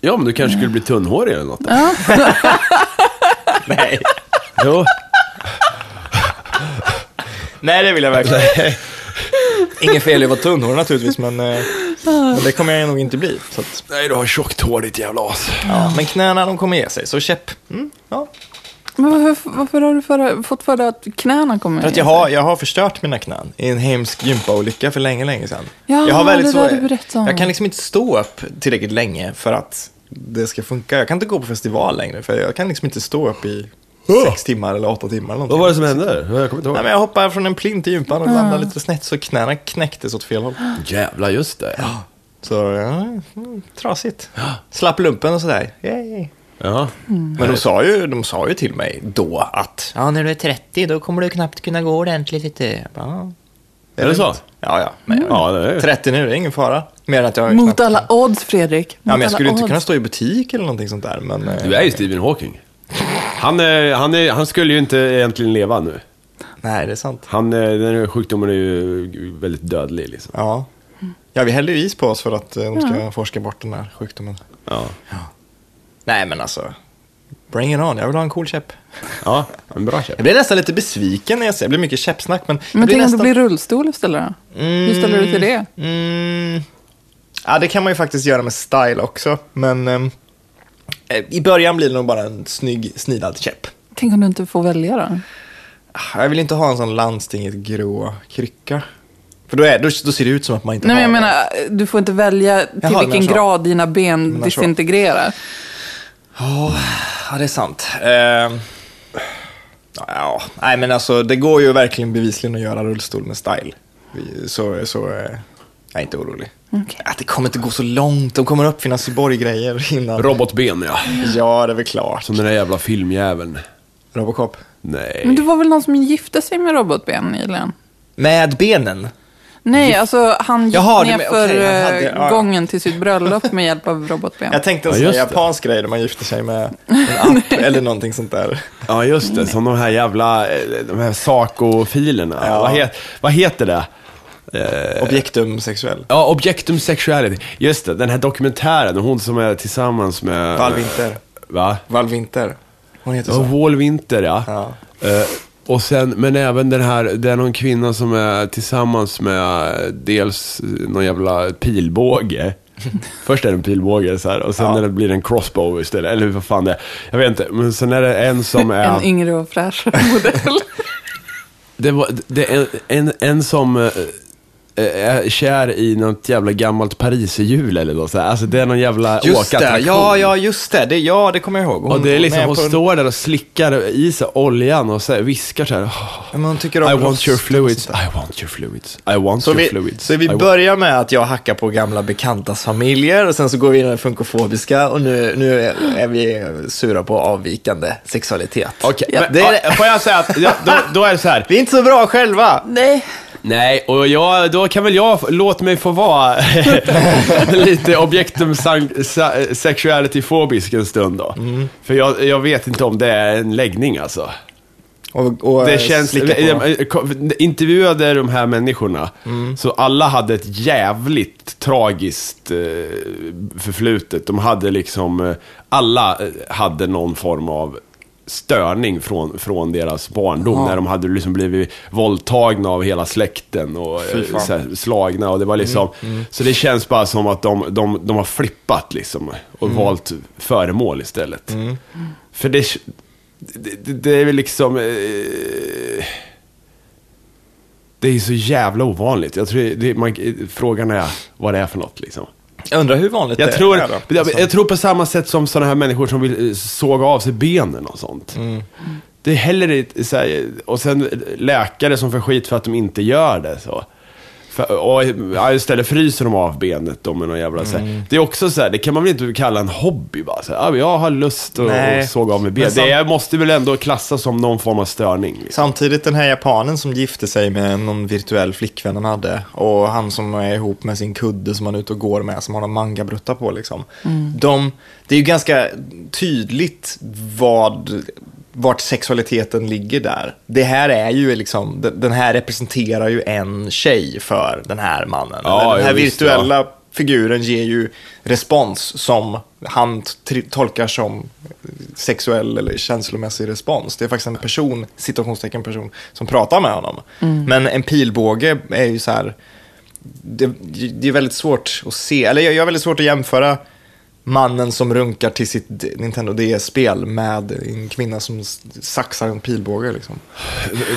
Speaker 3: Ja, men du kanske skulle bli tunnhårig eller något.
Speaker 2: Nej,
Speaker 3: Jo.
Speaker 2: Nej det vill jag verkligen Inget fel i att vara tunnhårig naturligtvis, men, eh, men det kommer jag nog inte bli. Så att,
Speaker 3: Nej, du har tjockt hår ditt jävla as.
Speaker 2: Ja, men knäna de kommer ge sig, så käpp. Mm, ja.
Speaker 1: Men varför, varför har du för, fått för dig att knäna kommer
Speaker 2: För att jag har, jag har förstört mina knän i en hemsk gympaolycka för länge, länge sedan.
Speaker 1: Ja,
Speaker 2: jag har
Speaker 1: det
Speaker 2: svår-
Speaker 1: där du berättade om.
Speaker 2: Jag kan liksom inte stå upp tillräckligt länge för att det ska funka. Jag kan inte gå på festival längre, för jag kan liksom inte stå upp i sex timmar eller åtta timmar eller någonting.
Speaker 3: Vad var det som hände? Jag kommer inte ihåg.
Speaker 2: Nej, men jag hoppade från en plint i gympan och landade lite snett, så knäna knäcktes åt fel håll.
Speaker 3: Jävlar, just det.
Speaker 2: Så, ja, mm, trasigt. Slapp lumpen och sådär. Yay.
Speaker 3: Ja.
Speaker 2: Men de sa, ju, de sa ju till mig då att ja, när du är 30 då kommer du knappt kunna gå ordentligt. Lite. Jag bara, ja.
Speaker 3: Är det så?
Speaker 2: Ja, ja. Men jag,
Speaker 3: Ja, det är
Speaker 2: 30 nu, det är ingen fara. Mer än att jag
Speaker 1: Mm. Mot
Speaker 2: knappt-
Speaker 1: alla odds, Fredrik. Mot
Speaker 2: Ja, men jag
Speaker 1: alla
Speaker 2: skulle inte
Speaker 1: odds.
Speaker 2: kunna stå i butik eller någonting sånt där. Men, eh,
Speaker 3: Du är ju Stephen Hawking. Han, eh, han, är, han skulle ju inte egentligen leva nu.
Speaker 2: Nej, det är sant.
Speaker 3: Han, eh, den här sjukdomen är ju väldigt dödlig liksom.
Speaker 2: Ja. ja, vi häller ju is på oss för att eh, de ska forska bort den här sjukdomen.
Speaker 3: Ja,
Speaker 2: Nej, men alltså. Bring it on, jag vill ha en cool käpp.
Speaker 3: ja en bra köp.
Speaker 2: Jag blir nästan lite besviken när jag ser, det blir mycket käppsnack, men... jag
Speaker 1: Men tänk om
Speaker 2: nästan...
Speaker 1: det blir rullstol istället då? Hur ställer du dig till det?
Speaker 2: Mm. Ja, det kan man ju faktiskt göra med style också, men ehm, eh, i början blir det nog bara en snygg snidad käpp.
Speaker 1: Tänk om du inte får välja då?
Speaker 2: Ah, Jag vill inte ha en sån landstinget grå krycka. För då, är, då, då ser det ut som att man inte
Speaker 1: Nej,
Speaker 2: har
Speaker 1: men jag
Speaker 2: den.
Speaker 1: menar, du får inte välja till
Speaker 2: Jaha,
Speaker 1: vilken
Speaker 2: men så.
Speaker 1: grad dina ben
Speaker 2: så.
Speaker 1: disintegrerar.
Speaker 2: Ja, det är sant. Ehm, ja, nej men alltså det går ju verkligen bevisligen att göra rullstol med style. Vi- Så, så eh, jag är inte orolig.
Speaker 1: Okej.
Speaker 2: Att det kommer inte gå så långt, de kommer uppfinna Cyborg-grejer innan.
Speaker 3: Robotben ja.
Speaker 2: ja, det är väl klart.
Speaker 3: Som den där jävla filmjäveln.
Speaker 2: Robocop.
Speaker 1: Men
Speaker 3: Nej.
Speaker 1: det var väl någon som gifte sig med robotben nyligen?
Speaker 2: Med benen.
Speaker 1: Nej, alltså han gick
Speaker 2: Jaha, du
Speaker 1: ner
Speaker 2: men-
Speaker 1: för
Speaker 2: okej, han
Speaker 1: eh,
Speaker 2: hade- ja.
Speaker 1: gången till sitt bröllop med hjälp av robotben.
Speaker 2: Jag tänkte en
Speaker 3: Ja,
Speaker 2: sån
Speaker 3: just
Speaker 2: där
Speaker 3: det.
Speaker 2: japansk grej där man gifter sig med en app eller någonting sånt där.
Speaker 3: Ja just det, som de här jävla, eh, de här Saco-filerna.
Speaker 2: Ja.
Speaker 3: Vad, he, vad heter det?
Speaker 2: Objektum sexuell.
Speaker 3: Ja, Objectum Sexuality. Just det, den här dokumentären, hon som är tillsammans med...
Speaker 2: Val Winter.
Speaker 3: Va?
Speaker 2: Val Winter. Hon heter
Speaker 3: Ja,
Speaker 2: så.
Speaker 3: Wall Winter ja.
Speaker 2: Ja.
Speaker 3: Eh, och sen, men även den här, det är någon kvinna som är tillsammans med eh, dels någon jävla pilbåge. Först är det en pilbåge så här, och sen
Speaker 2: Ja.
Speaker 3: är det, blir det en crossbow istället, eller vad fan det är. Jag vet inte, men sen är det en som är...
Speaker 1: En yngre och fräschare modell.
Speaker 3: Det, var, det är en, en, en som eh, eh, är kär i något jävla gammalt pariserhjul eller något så här. Alltså det är någon jävla
Speaker 2: Just det,
Speaker 3: åkattraktion.
Speaker 2: ja, ja, just det. det. Ja, det kommer jag ihåg. Hon,
Speaker 3: Och det är liksom,
Speaker 2: är
Speaker 3: hon
Speaker 2: på en-
Speaker 3: står där och slickar i sig oljan och så här, viskar så här. "Åh,
Speaker 2: Men hon tycker om
Speaker 3: I want
Speaker 2: rost
Speaker 3: your
Speaker 2: och
Speaker 3: fluids,
Speaker 2: sånt där.
Speaker 3: I want your fluids, I want
Speaker 2: Så
Speaker 3: your
Speaker 2: vi,
Speaker 3: fluids.
Speaker 2: så
Speaker 3: I
Speaker 2: vi
Speaker 3: want-"
Speaker 2: börjar med att jag hackar på gamla bekantas familjer och sen så går vi in i den funkofobiska och nu, nu är- är vi sura på avvikande sexualitet.
Speaker 3: Okej,
Speaker 2: Ja,
Speaker 3: men,
Speaker 2: det är,
Speaker 3: ja, får jag säga att, ja, då, då är det så här.
Speaker 2: Vi är inte så bra själva.
Speaker 1: Nej.
Speaker 3: Nej, och jag, då kan väl jag, låt mig få vara lite objektum san- sa- sexuality-fobisk en stund då. För jag, jag vet inte om det är en läggning alltså.
Speaker 2: Och, och
Speaker 3: Det känns...
Speaker 2: slicka på dem.
Speaker 3: eh, ko- Intervjuade de här människorna, så alla hade ett jävligt tragiskt eh, förflutet. De hade liksom... eh, Alla eh, hade någon form av störning från, från deras barndom. När de hade liksom blivit våldtagna av hela släkten och eh,
Speaker 2: Fy fan. Mm,
Speaker 3: så här, slagna. Och det var liksom, Så det känns bara som att de, de, de har flippat liksom och
Speaker 2: Mm.
Speaker 3: valt föremål istället. För det, det, det- det är väl liksom... Eh, det är ju så jävla ovanligt. Jag tror det, man, frågan är vad det är för något liksom.
Speaker 2: Jag undrar hur vanligt
Speaker 3: Jag
Speaker 2: det
Speaker 3: tror,
Speaker 2: är. då. liksom.
Speaker 3: jag, jag tror på samma sätt som sådana här människor som vill eh, såga av sig benen och sånt.
Speaker 2: Mm.
Speaker 3: Det är heller inte så här, och sen läkare som får skit för att de inte gör det. Så. För, och, ja, istället fryser de av benet då med någon jävla så
Speaker 2: Mm.
Speaker 3: här. Det är också så här, det kan man väl inte kalla en hobby bara. Så här, "Ja, men jag har lust att
Speaker 2: Nej.
Speaker 3: att såga av mig
Speaker 2: Men
Speaker 3: benet.
Speaker 2: sam-
Speaker 3: Det är- måste väl ändå klassas som någon form av störning. Liksom.
Speaker 2: Samtidigt den här japanen som gifte sig med någon virtuell flickvän han hade och han som är ihop med sin kudde som han är ute och går med som har någon mangabrutta på liksom. De, det är ju ganska tydligt vad, vart sexualiteten ligger där. Det här är ju liksom, den den här representerar ju en tjej för den här mannen.
Speaker 3: Ja,
Speaker 2: Eller den här
Speaker 3: ja, visst,
Speaker 2: virtuella figuren ger ju respons som han t- tolkar som sexuell eller känslomässig respons. Det är faktiskt en person, situationstecken person, som pratar med honom. Men en pilbåge är ju så här, det, det är väldigt svårt att se, eller jag jag har väldigt svårt att jämföra mannen som runkar till sitt D- Nintendo DS-spel med en kvinna som s- saxar en pilbåge liksom.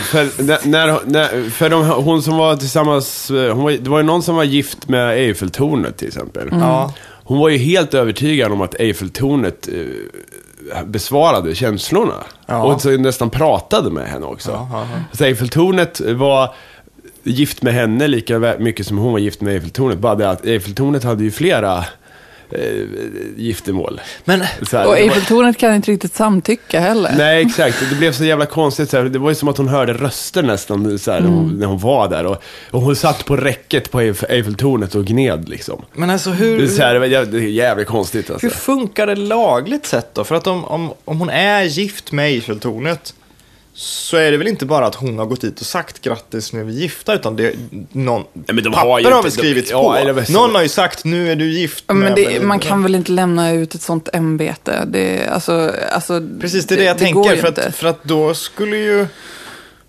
Speaker 3: För, när- när, när, för de, hon som var tillsammans, eh, hon var, det var ju någon som var gift med Eiffeltornet till exempel.
Speaker 2: Mm. Ja.
Speaker 3: Hon var ju helt övertygad om att Eiffeltornet eh, besvarade känslorna.
Speaker 2: Ja.
Speaker 3: Och så nästan pratade med henne också. Så Eiffeltornet var gift med henne lika vä- mycket som hon var gift med Eiffeltornet. Bara det att Eiffeltornet hade ju flera eh, giftermål.
Speaker 2: Men,
Speaker 3: Så här,
Speaker 1: Och
Speaker 3: det var-
Speaker 1: Eiffeltornet kan inte riktigt samtycka heller.
Speaker 3: Nej, exakt. Det blev så jävla konstigt. Så här. Det var ju som att hon hörde röster nästan så här, när hon- när hon var där. Och, och hon satt på räcket på Eiff- Eiffeltornet och gned liksom.
Speaker 2: men alltså
Speaker 3: Det, är
Speaker 2: hur...
Speaker 3: så här, det var jä- det är jävligt konstigt alltså.
Speaker 2: Hur funkar det lagligt sett då? För att om, om, om hon är gift med Eiffeltornet så är det väl inte bara att hon har gått dit och sagt grattis nu är vi gifta, utan det är någon...
Speaker 3: men de har
Speaker 2: papper
Speaker 3: ju
Speaker 2: har
Speaker 3: inte-
Speaker 2: väl skrivits
Speaker 3: de- ja,
Speaker 2: på.
Speaker 3: eller vad-
Speaker 2: någon har ju sagt nu är du gift
Speaker 1: Ja, Men
Speaker 2: med-
Speaker 1: det, man kan väl inte lämna ut ett sånt ämbete? Det, alltså, alltså,
Speaker 2: Precis, det är det jag
Speaker 1: går
Speaker 2: tänker.
Speaker 1: ju
Speaker 2: För
Speaker 1: inte.
Speaker 2: att, för att då skulle ju...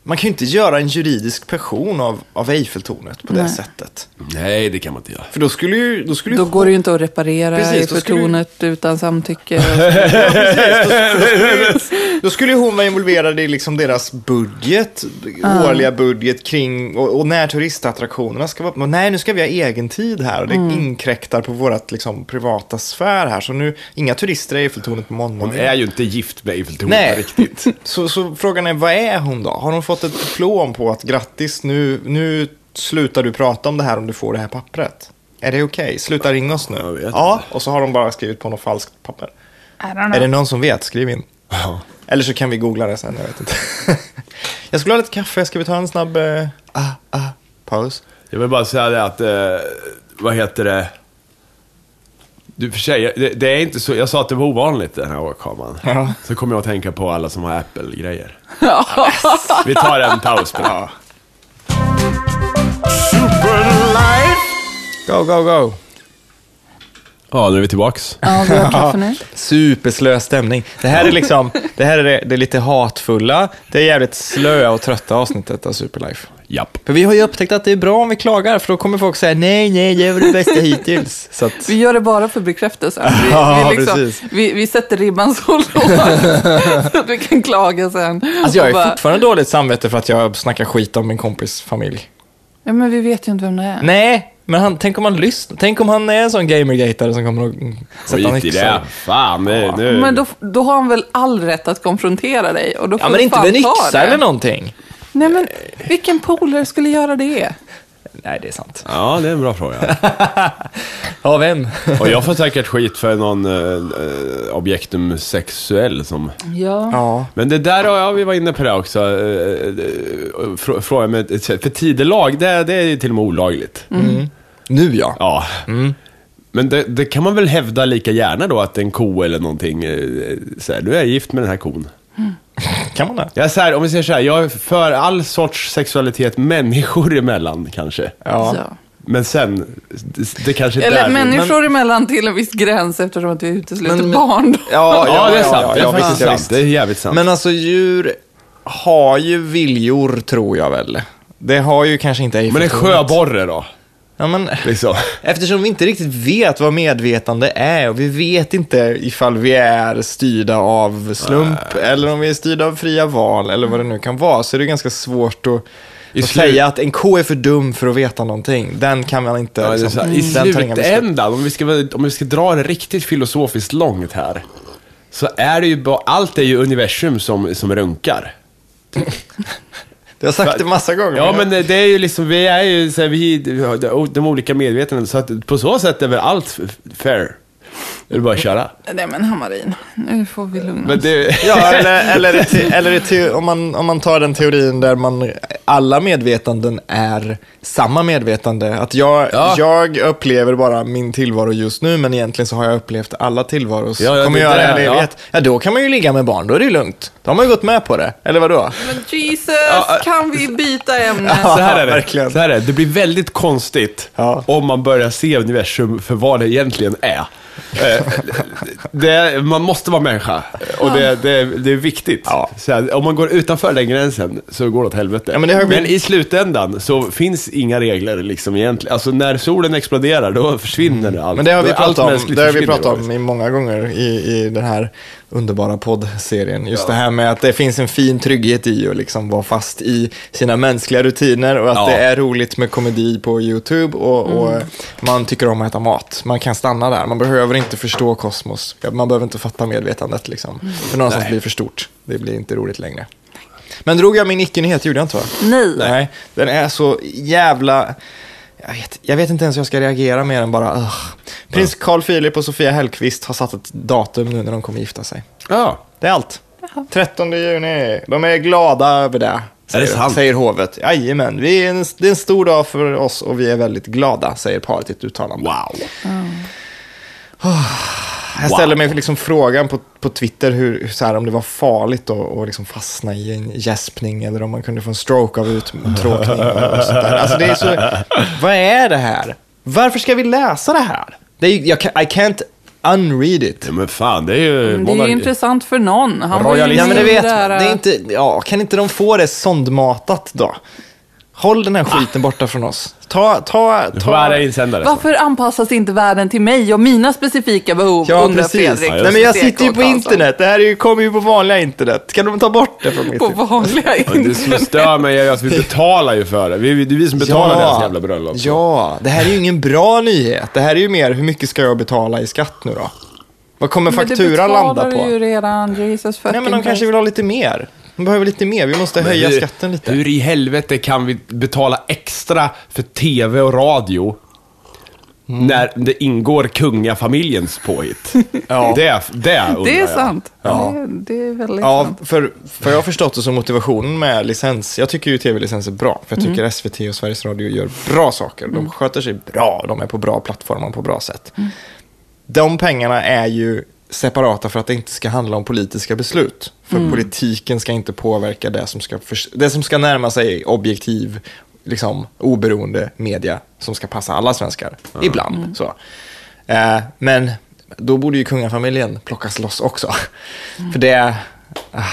Speaker 2: Man kan ju inte göra en juridisk person av, av Eiffeltornet på det
Speaker 1: Nej.
Speaker 2: sättet.
Speaker 3: Nej, det kan man inte göra.
Speaker 2: För då skulle ju... Då skulle ju
Speaker 1: Då går det ju inte att reparera
Speaker 2: Precis,
Speaker 1: i
Speaker 2: då skulle du-
Speaker 1: förtronet utan samtycke. och så.
Speaker 2: Då skulle ju hon vara involverad i liksom deras budget, årliga budget kring, och, och när turistattraktionerna ska vara öppna. Nej, nu ska vi ha egen tid här och det inkräktar på vårt liksom, privata sfär här. Så nu, inga turister i Eiffeltornet på
Speaker 3: Hon
Speaker 2: måndag.
Speaker 3: är ju inte gift med Eiffeltornet
Speaker 2: Nej.
Speaker 3: riktigt.
Speaker 2: Så, så frågan är, vad är hon då? Har hon fått ett diplom på att grattis, nu, nu slutar du prata om det här om du får det här pappret? Är det okej? Sluta ringa oss nu.
Speaker 3: Jag vet
Speaker 2: ja, och så har de bara skrivit på något falskt papper.
Speaker 1: I don't know.
Speaker 2: Är det någon som vet? Skriv in. Eller så kan vi googla det sen, jag vet inte. jag skulle ha lite kaffe, ska vi ta en snabb eh, ah, ah, paus?
Speaker 3: Jag vill bara säga det att, eh, vad heter det? Du för sig, det, det är inte så, jag sa att det var ovanligt den här åkaman.
Speaker 2: Ja.
Speaker 3: Så kommer jag att tänka på alla som har Apple-grejer. Vi tar en paus på det.
Speaker 2: Go, go, go.
Speaker 3: Ja, nu är vi tillbaks.
Speaker 1: Ja, vi har kaffe nu.
Speaker 2: Superslö stämning. Det här är liksom, det här är det, det är lite hatfulla, det är jävligt slöa och trötta avsnittet av Superlife.
Speaker 3: Japp.
Speaker 2: För vi har ju upptäckt att det är bra om vi klagar, för då kommer folk säga nej, nej, det var det bästa hittills. Så att,
Speaker 1: Vi gör det bara för bekräftelsen. Vi,
Speaker 2: Ja,
Speaker 1: vi, liksom,
Speaker 2: precis.
Speaker 1: vi, vi sätter ribban så lågt så att vi kan klaga sen.
Speaker 2: alltså jag
Speaker 1: Och
Speaker 2: är fortfarande dåligt samvete för att jag snackar skit om min kompis familj.
Speaker 1: Ja, men vi vet ju inte vem det är.
Speaker 2: Nej, men han, tänk om han lyssnar. Tänk om han är en sån gamergatare som kommer att mm, sätta en
Speaker 3: Skit i
Speaker 2: yxa.
Speaker 3: det. Fan, nu... nu.
Speaker 1: Men då, då har han väl all rätt att konfrontera dig. Och då får
Speaker 2: Ja,
Speaker 1: du
Speaker 2: men inte
Speaker 1: fan
Speaker 2: med en
Speaker 1: ta
Speaker 2: yxa
Speaker 1: det.
Speaker 2: eller någonting.
Speaker 1: Nej, men vilken polare skulle göra det?
Speaker 2: Nej, det är sant.
Speaker 3: Ja, det är en bra fråga.
Speaker 2: Av vem?
Speaker 3: Och jag får säkert skit för någon eh, eh, objektum sexuell som...
Speaker 1: Ja.
Speaker 2: Ja.
Speaker 3: Men det där, ja, vi var inne på det också. eh, eh, frå- Frågan med, för tidelag, det, det är ju till och med olagligt.
Speaker 1: Mm.
Speaker 2: Nu ja.
Speaker 3: Ja. Men det, det kan man väl hävda lika gärna då att en ko eller någonting, eh, så här, nu är jag gift med den här kon.
Speaker 2: Kan man det?
Speaker 3: Jag är så här, om vi säger så här, jag är för all sorts sexualitet människor emellan kanske.
Speaker 2: Ja.
Speaker 1: Så.
Speaker 3: Men sen, det, det kanske
Speaker 1: Eller
Speaker 3: är där.
Speaker 1: människor emellan till en viss gräns eftersom att vi utesluter
Speaker 2: Men-
Speaker 1: barn. Då.
Speaker 3: Ja, det är
Speaker 2: ja,
Speaker 3: sant.
Speaker 2: ja,
Speaker 3: det är
Speaker 2: ja,
Speaker 3: faktiskt
Speaker 2: visst, ja,
Speaker 3: sant.
Speaker 2: visst.
Speaker 3: Det är jävligt sant.
Speaker 2: Men alltså djur har ju viljor, tror jag väl. Det har ju kanske inte
Speaker 3: men en
Speaker 2: Eiffeltornet.
Speaker 3: sjöborre då?
Speaker 2: Ja, men...
Speaker 3: Liksom.
Speaker 2: Eftersom vi inte riktigt vet vad medvetande är och vi vet inte ifall vi är styrda av slump eller om vi är styrda av fria val eller vad det nu kan vara så är det ganska svårt att, att
Speaker 3: slut-
Speaker 2: säga att en ko är för dum för att veta någonting. Den kan man inte...
Speaker 3: Ja, det är
Speaker 2: liksom,
Speaker 3: så här, I
Speaker 2: den tar inga beslut.
Speaker 3: slutändan, Mm. om vi, ska, vara- om vi ska dra det riktigt filosofiskt långt här, så är det ju bara, allt är ju universum som, som runkar.
Speaker 2: Du har sagt det massa gånger.
Speaker 3: Ja, men det är ju liksom, vi är ju så här, vi, de olika medvetandena, så att på så sätt är väl allt f- fair. Det är bara att köra.
Speaker 1: Nej, men Hammarin, nu får vi lugna
Speaker 3: Men
Speaker 1: oss.
Speaker 3: det,
Speaker 2: Ja, eller, eller, i te, eller i te, om, man, om man tar den teorin där man, alla medvetanden är samma medvetande. Att jag,
Speaker 3: Ja.
Speaker 2: jag upplever bara min tillvaro just nu, men egentligen så har jag upplevt alla tillvaros.
Speaker 3: Ja, ja,
Speaker 2: Kommer
Speaker 3: det
Speaker 2: göra
Speaker 3: där,
Speaker 2: en
Speaker 3: ja.
Speaker 2: evighet. Ja, då kan man ju ligga med barn, då är det ju lugnt. Då har man ju gått med på det, eller vadå?
Speaker 1: Men Jesus,
Speaker 3: Ja, äh,
Speaker 1: kan vi byta ämne?
Speaker 3: så här är det.
Speaker 2: verkligen.
Speaker 3: Så här är det. det blir väldigt konstigt
Speaker 2: Ja.
Speaker 3: om man börjar se universum för vad det egentligen är. Eh, det, man måste vara människa och det, det, det är viktigt.
Speaker 2: Ja.
Speaker 3: Så här, om man går utanför den gränsen så går det åt helvete.
Speaker 2: Ja, men det har ju blivit-
Speaker 3: i slutändan så finns inga regler liksom egentligen. Alltså när solen exploderar då försvinner allt.
Speaker 2: Mm. Men det har vi
Speaker 3: Allt
Speaker 2: pratat om,
Speaker 3: mänskligt
Speaker 2: det har vi
Speaker 3: försvinner
Speaker 2: pratat
Speaker 3: då.
Speaker 2: om i många gånger i, i den här underbara poddserien. Just det här med att det finns en fin trygghet i att liksom vara fast i sina mänskliga rutiner och att
Speaker 3: Ja.
Speaker 2: det är roligt med komedi på YouTube och, och man tycker om att äta mat. Man kan stanna där, man behöver inte förstå kosmos. Man behöver inte fatta medvetandet liksom. För någonstans blir det för stort, det blir inte roligt längre. Men drog jag min icke-nyhet, gjorde jag inte va?
Speaker 1: Nej.
Speaker 2: Nej, den är så jävla... Jag vet, jag vet inte ens hur jag ska reagera mer än bara... "Ugh." Prins Carl Philip och Sofia Hellqvist har satt ett datum nu när de kommer gifta sig.
Speaker 3: Ja.
Speaker 2: Det är allt. 13 juni. De är glada över det. Säger,
Speaker 3: sant?
Speaker 2: säger hovet. Jajamän, vi är en, det är en stor dag för oss och vi är väldigt glada, säger paret i ett uttalande.
Speaker 3: Wow.
Speaker 2: Jag ställer mig liksom frågan på, på Twitter hur, så här, om det var farligt att att liksom fastna i en gäspning eller om man kunde få en stroke av uttråkning. och sånt där. Alltså, det är så, vad är det här? Varför ska vi läsa det här? Det är, ju- jag, kan- I can't unread it.
Speaker 3: Ja, men fan, det är ju...
Speaker 1: Mm, Det är ju intressant för någon. Han var ju
Speaker 2: Ja, men det
Speaker 1: med i
Speaker 2: vet
Speaker 1: här, äh,
Speaker 2: man. Det är inte, ja, kan inte de få det sondmatat då? Håll den här skiten borta från oss. Ta, ta, ta.
Speaker 3: Tvära insändare.
Speaker 2: liksom.
Speaker 1: Varför anpassas inte världen till mig och mina specifika behov?
Speaker 2: Ja,
Speaker 1: undrar
Speaker 2: precis.
Speaker 1: Fredrik. alltså.
Speaker 2: Nej, men jag
Speaker 1: TK
Speaker 2: sitter ju på
Speaker 1: Karlsson.
Speaker 2: internet. Det här är ju, kommer ju på vanliga internet. Kan de ta bort det från mitt
Speaker 1: På
Speaker 2: liv?
Speaker 1: vanliga
Speaker 3: Ja, Det som
Speaker 1: internet.
Speaker 3: stör mig är ju att vi betalar ju för det. Vi, det är vi som betalar deras jävla bröllop.
Speaker 2: Ja, det här är ju ingen bra nyhet. Det här är ju mer, hur mycket ska jag betala i skatt nu då? Vad kommer
Speaker 1: Men det
Speaker 2: fakturan landa
Speaker 1: betalar
Speaker 2: på?
Speaker 1: ju redan, Jesus fucking
Speaker 2: Nej, men de kanske
Speaker 1: Christ.
Speaker 2: vill ha lite mer. De behöver lite mer. Vi måste höja
Speaker 3: hur,
Speaker 2: skatten lite.
Speaker 3: Hur i helvete kan vi betala extra för tv och radio
Speaker 2: Mm.
Speaker 3: när det ingår kungafamiljens påhitt?
Speaker 2: Ja.
Speaker 3: Det, det undrar
Speaker 1: Det är
Speaker 3: jag.
Speaker 1: sant. Det, det är väldigt
Speaker 2: Ja,
Speaker 1: sant.
Speaker 2: för, för jag har förstått det som motivationen med licens. Jag tycker ju tv-licens är bra, för jag tycker SVT och Sveriges Radio gör bra saker. De sköter sig bra, de är på bra plattformar på bra sätt. De pengarna är ju separata för att det inte ska handla om politiska beslut. För politiken ska inte påverka det som ska, förs- det som ska närma sig objektiv, liksom, oberoende media som ska passa alla svenskar. Ibland. Så. Eh, men då borde ju kungafamiljen plockas loss också. För det... ah,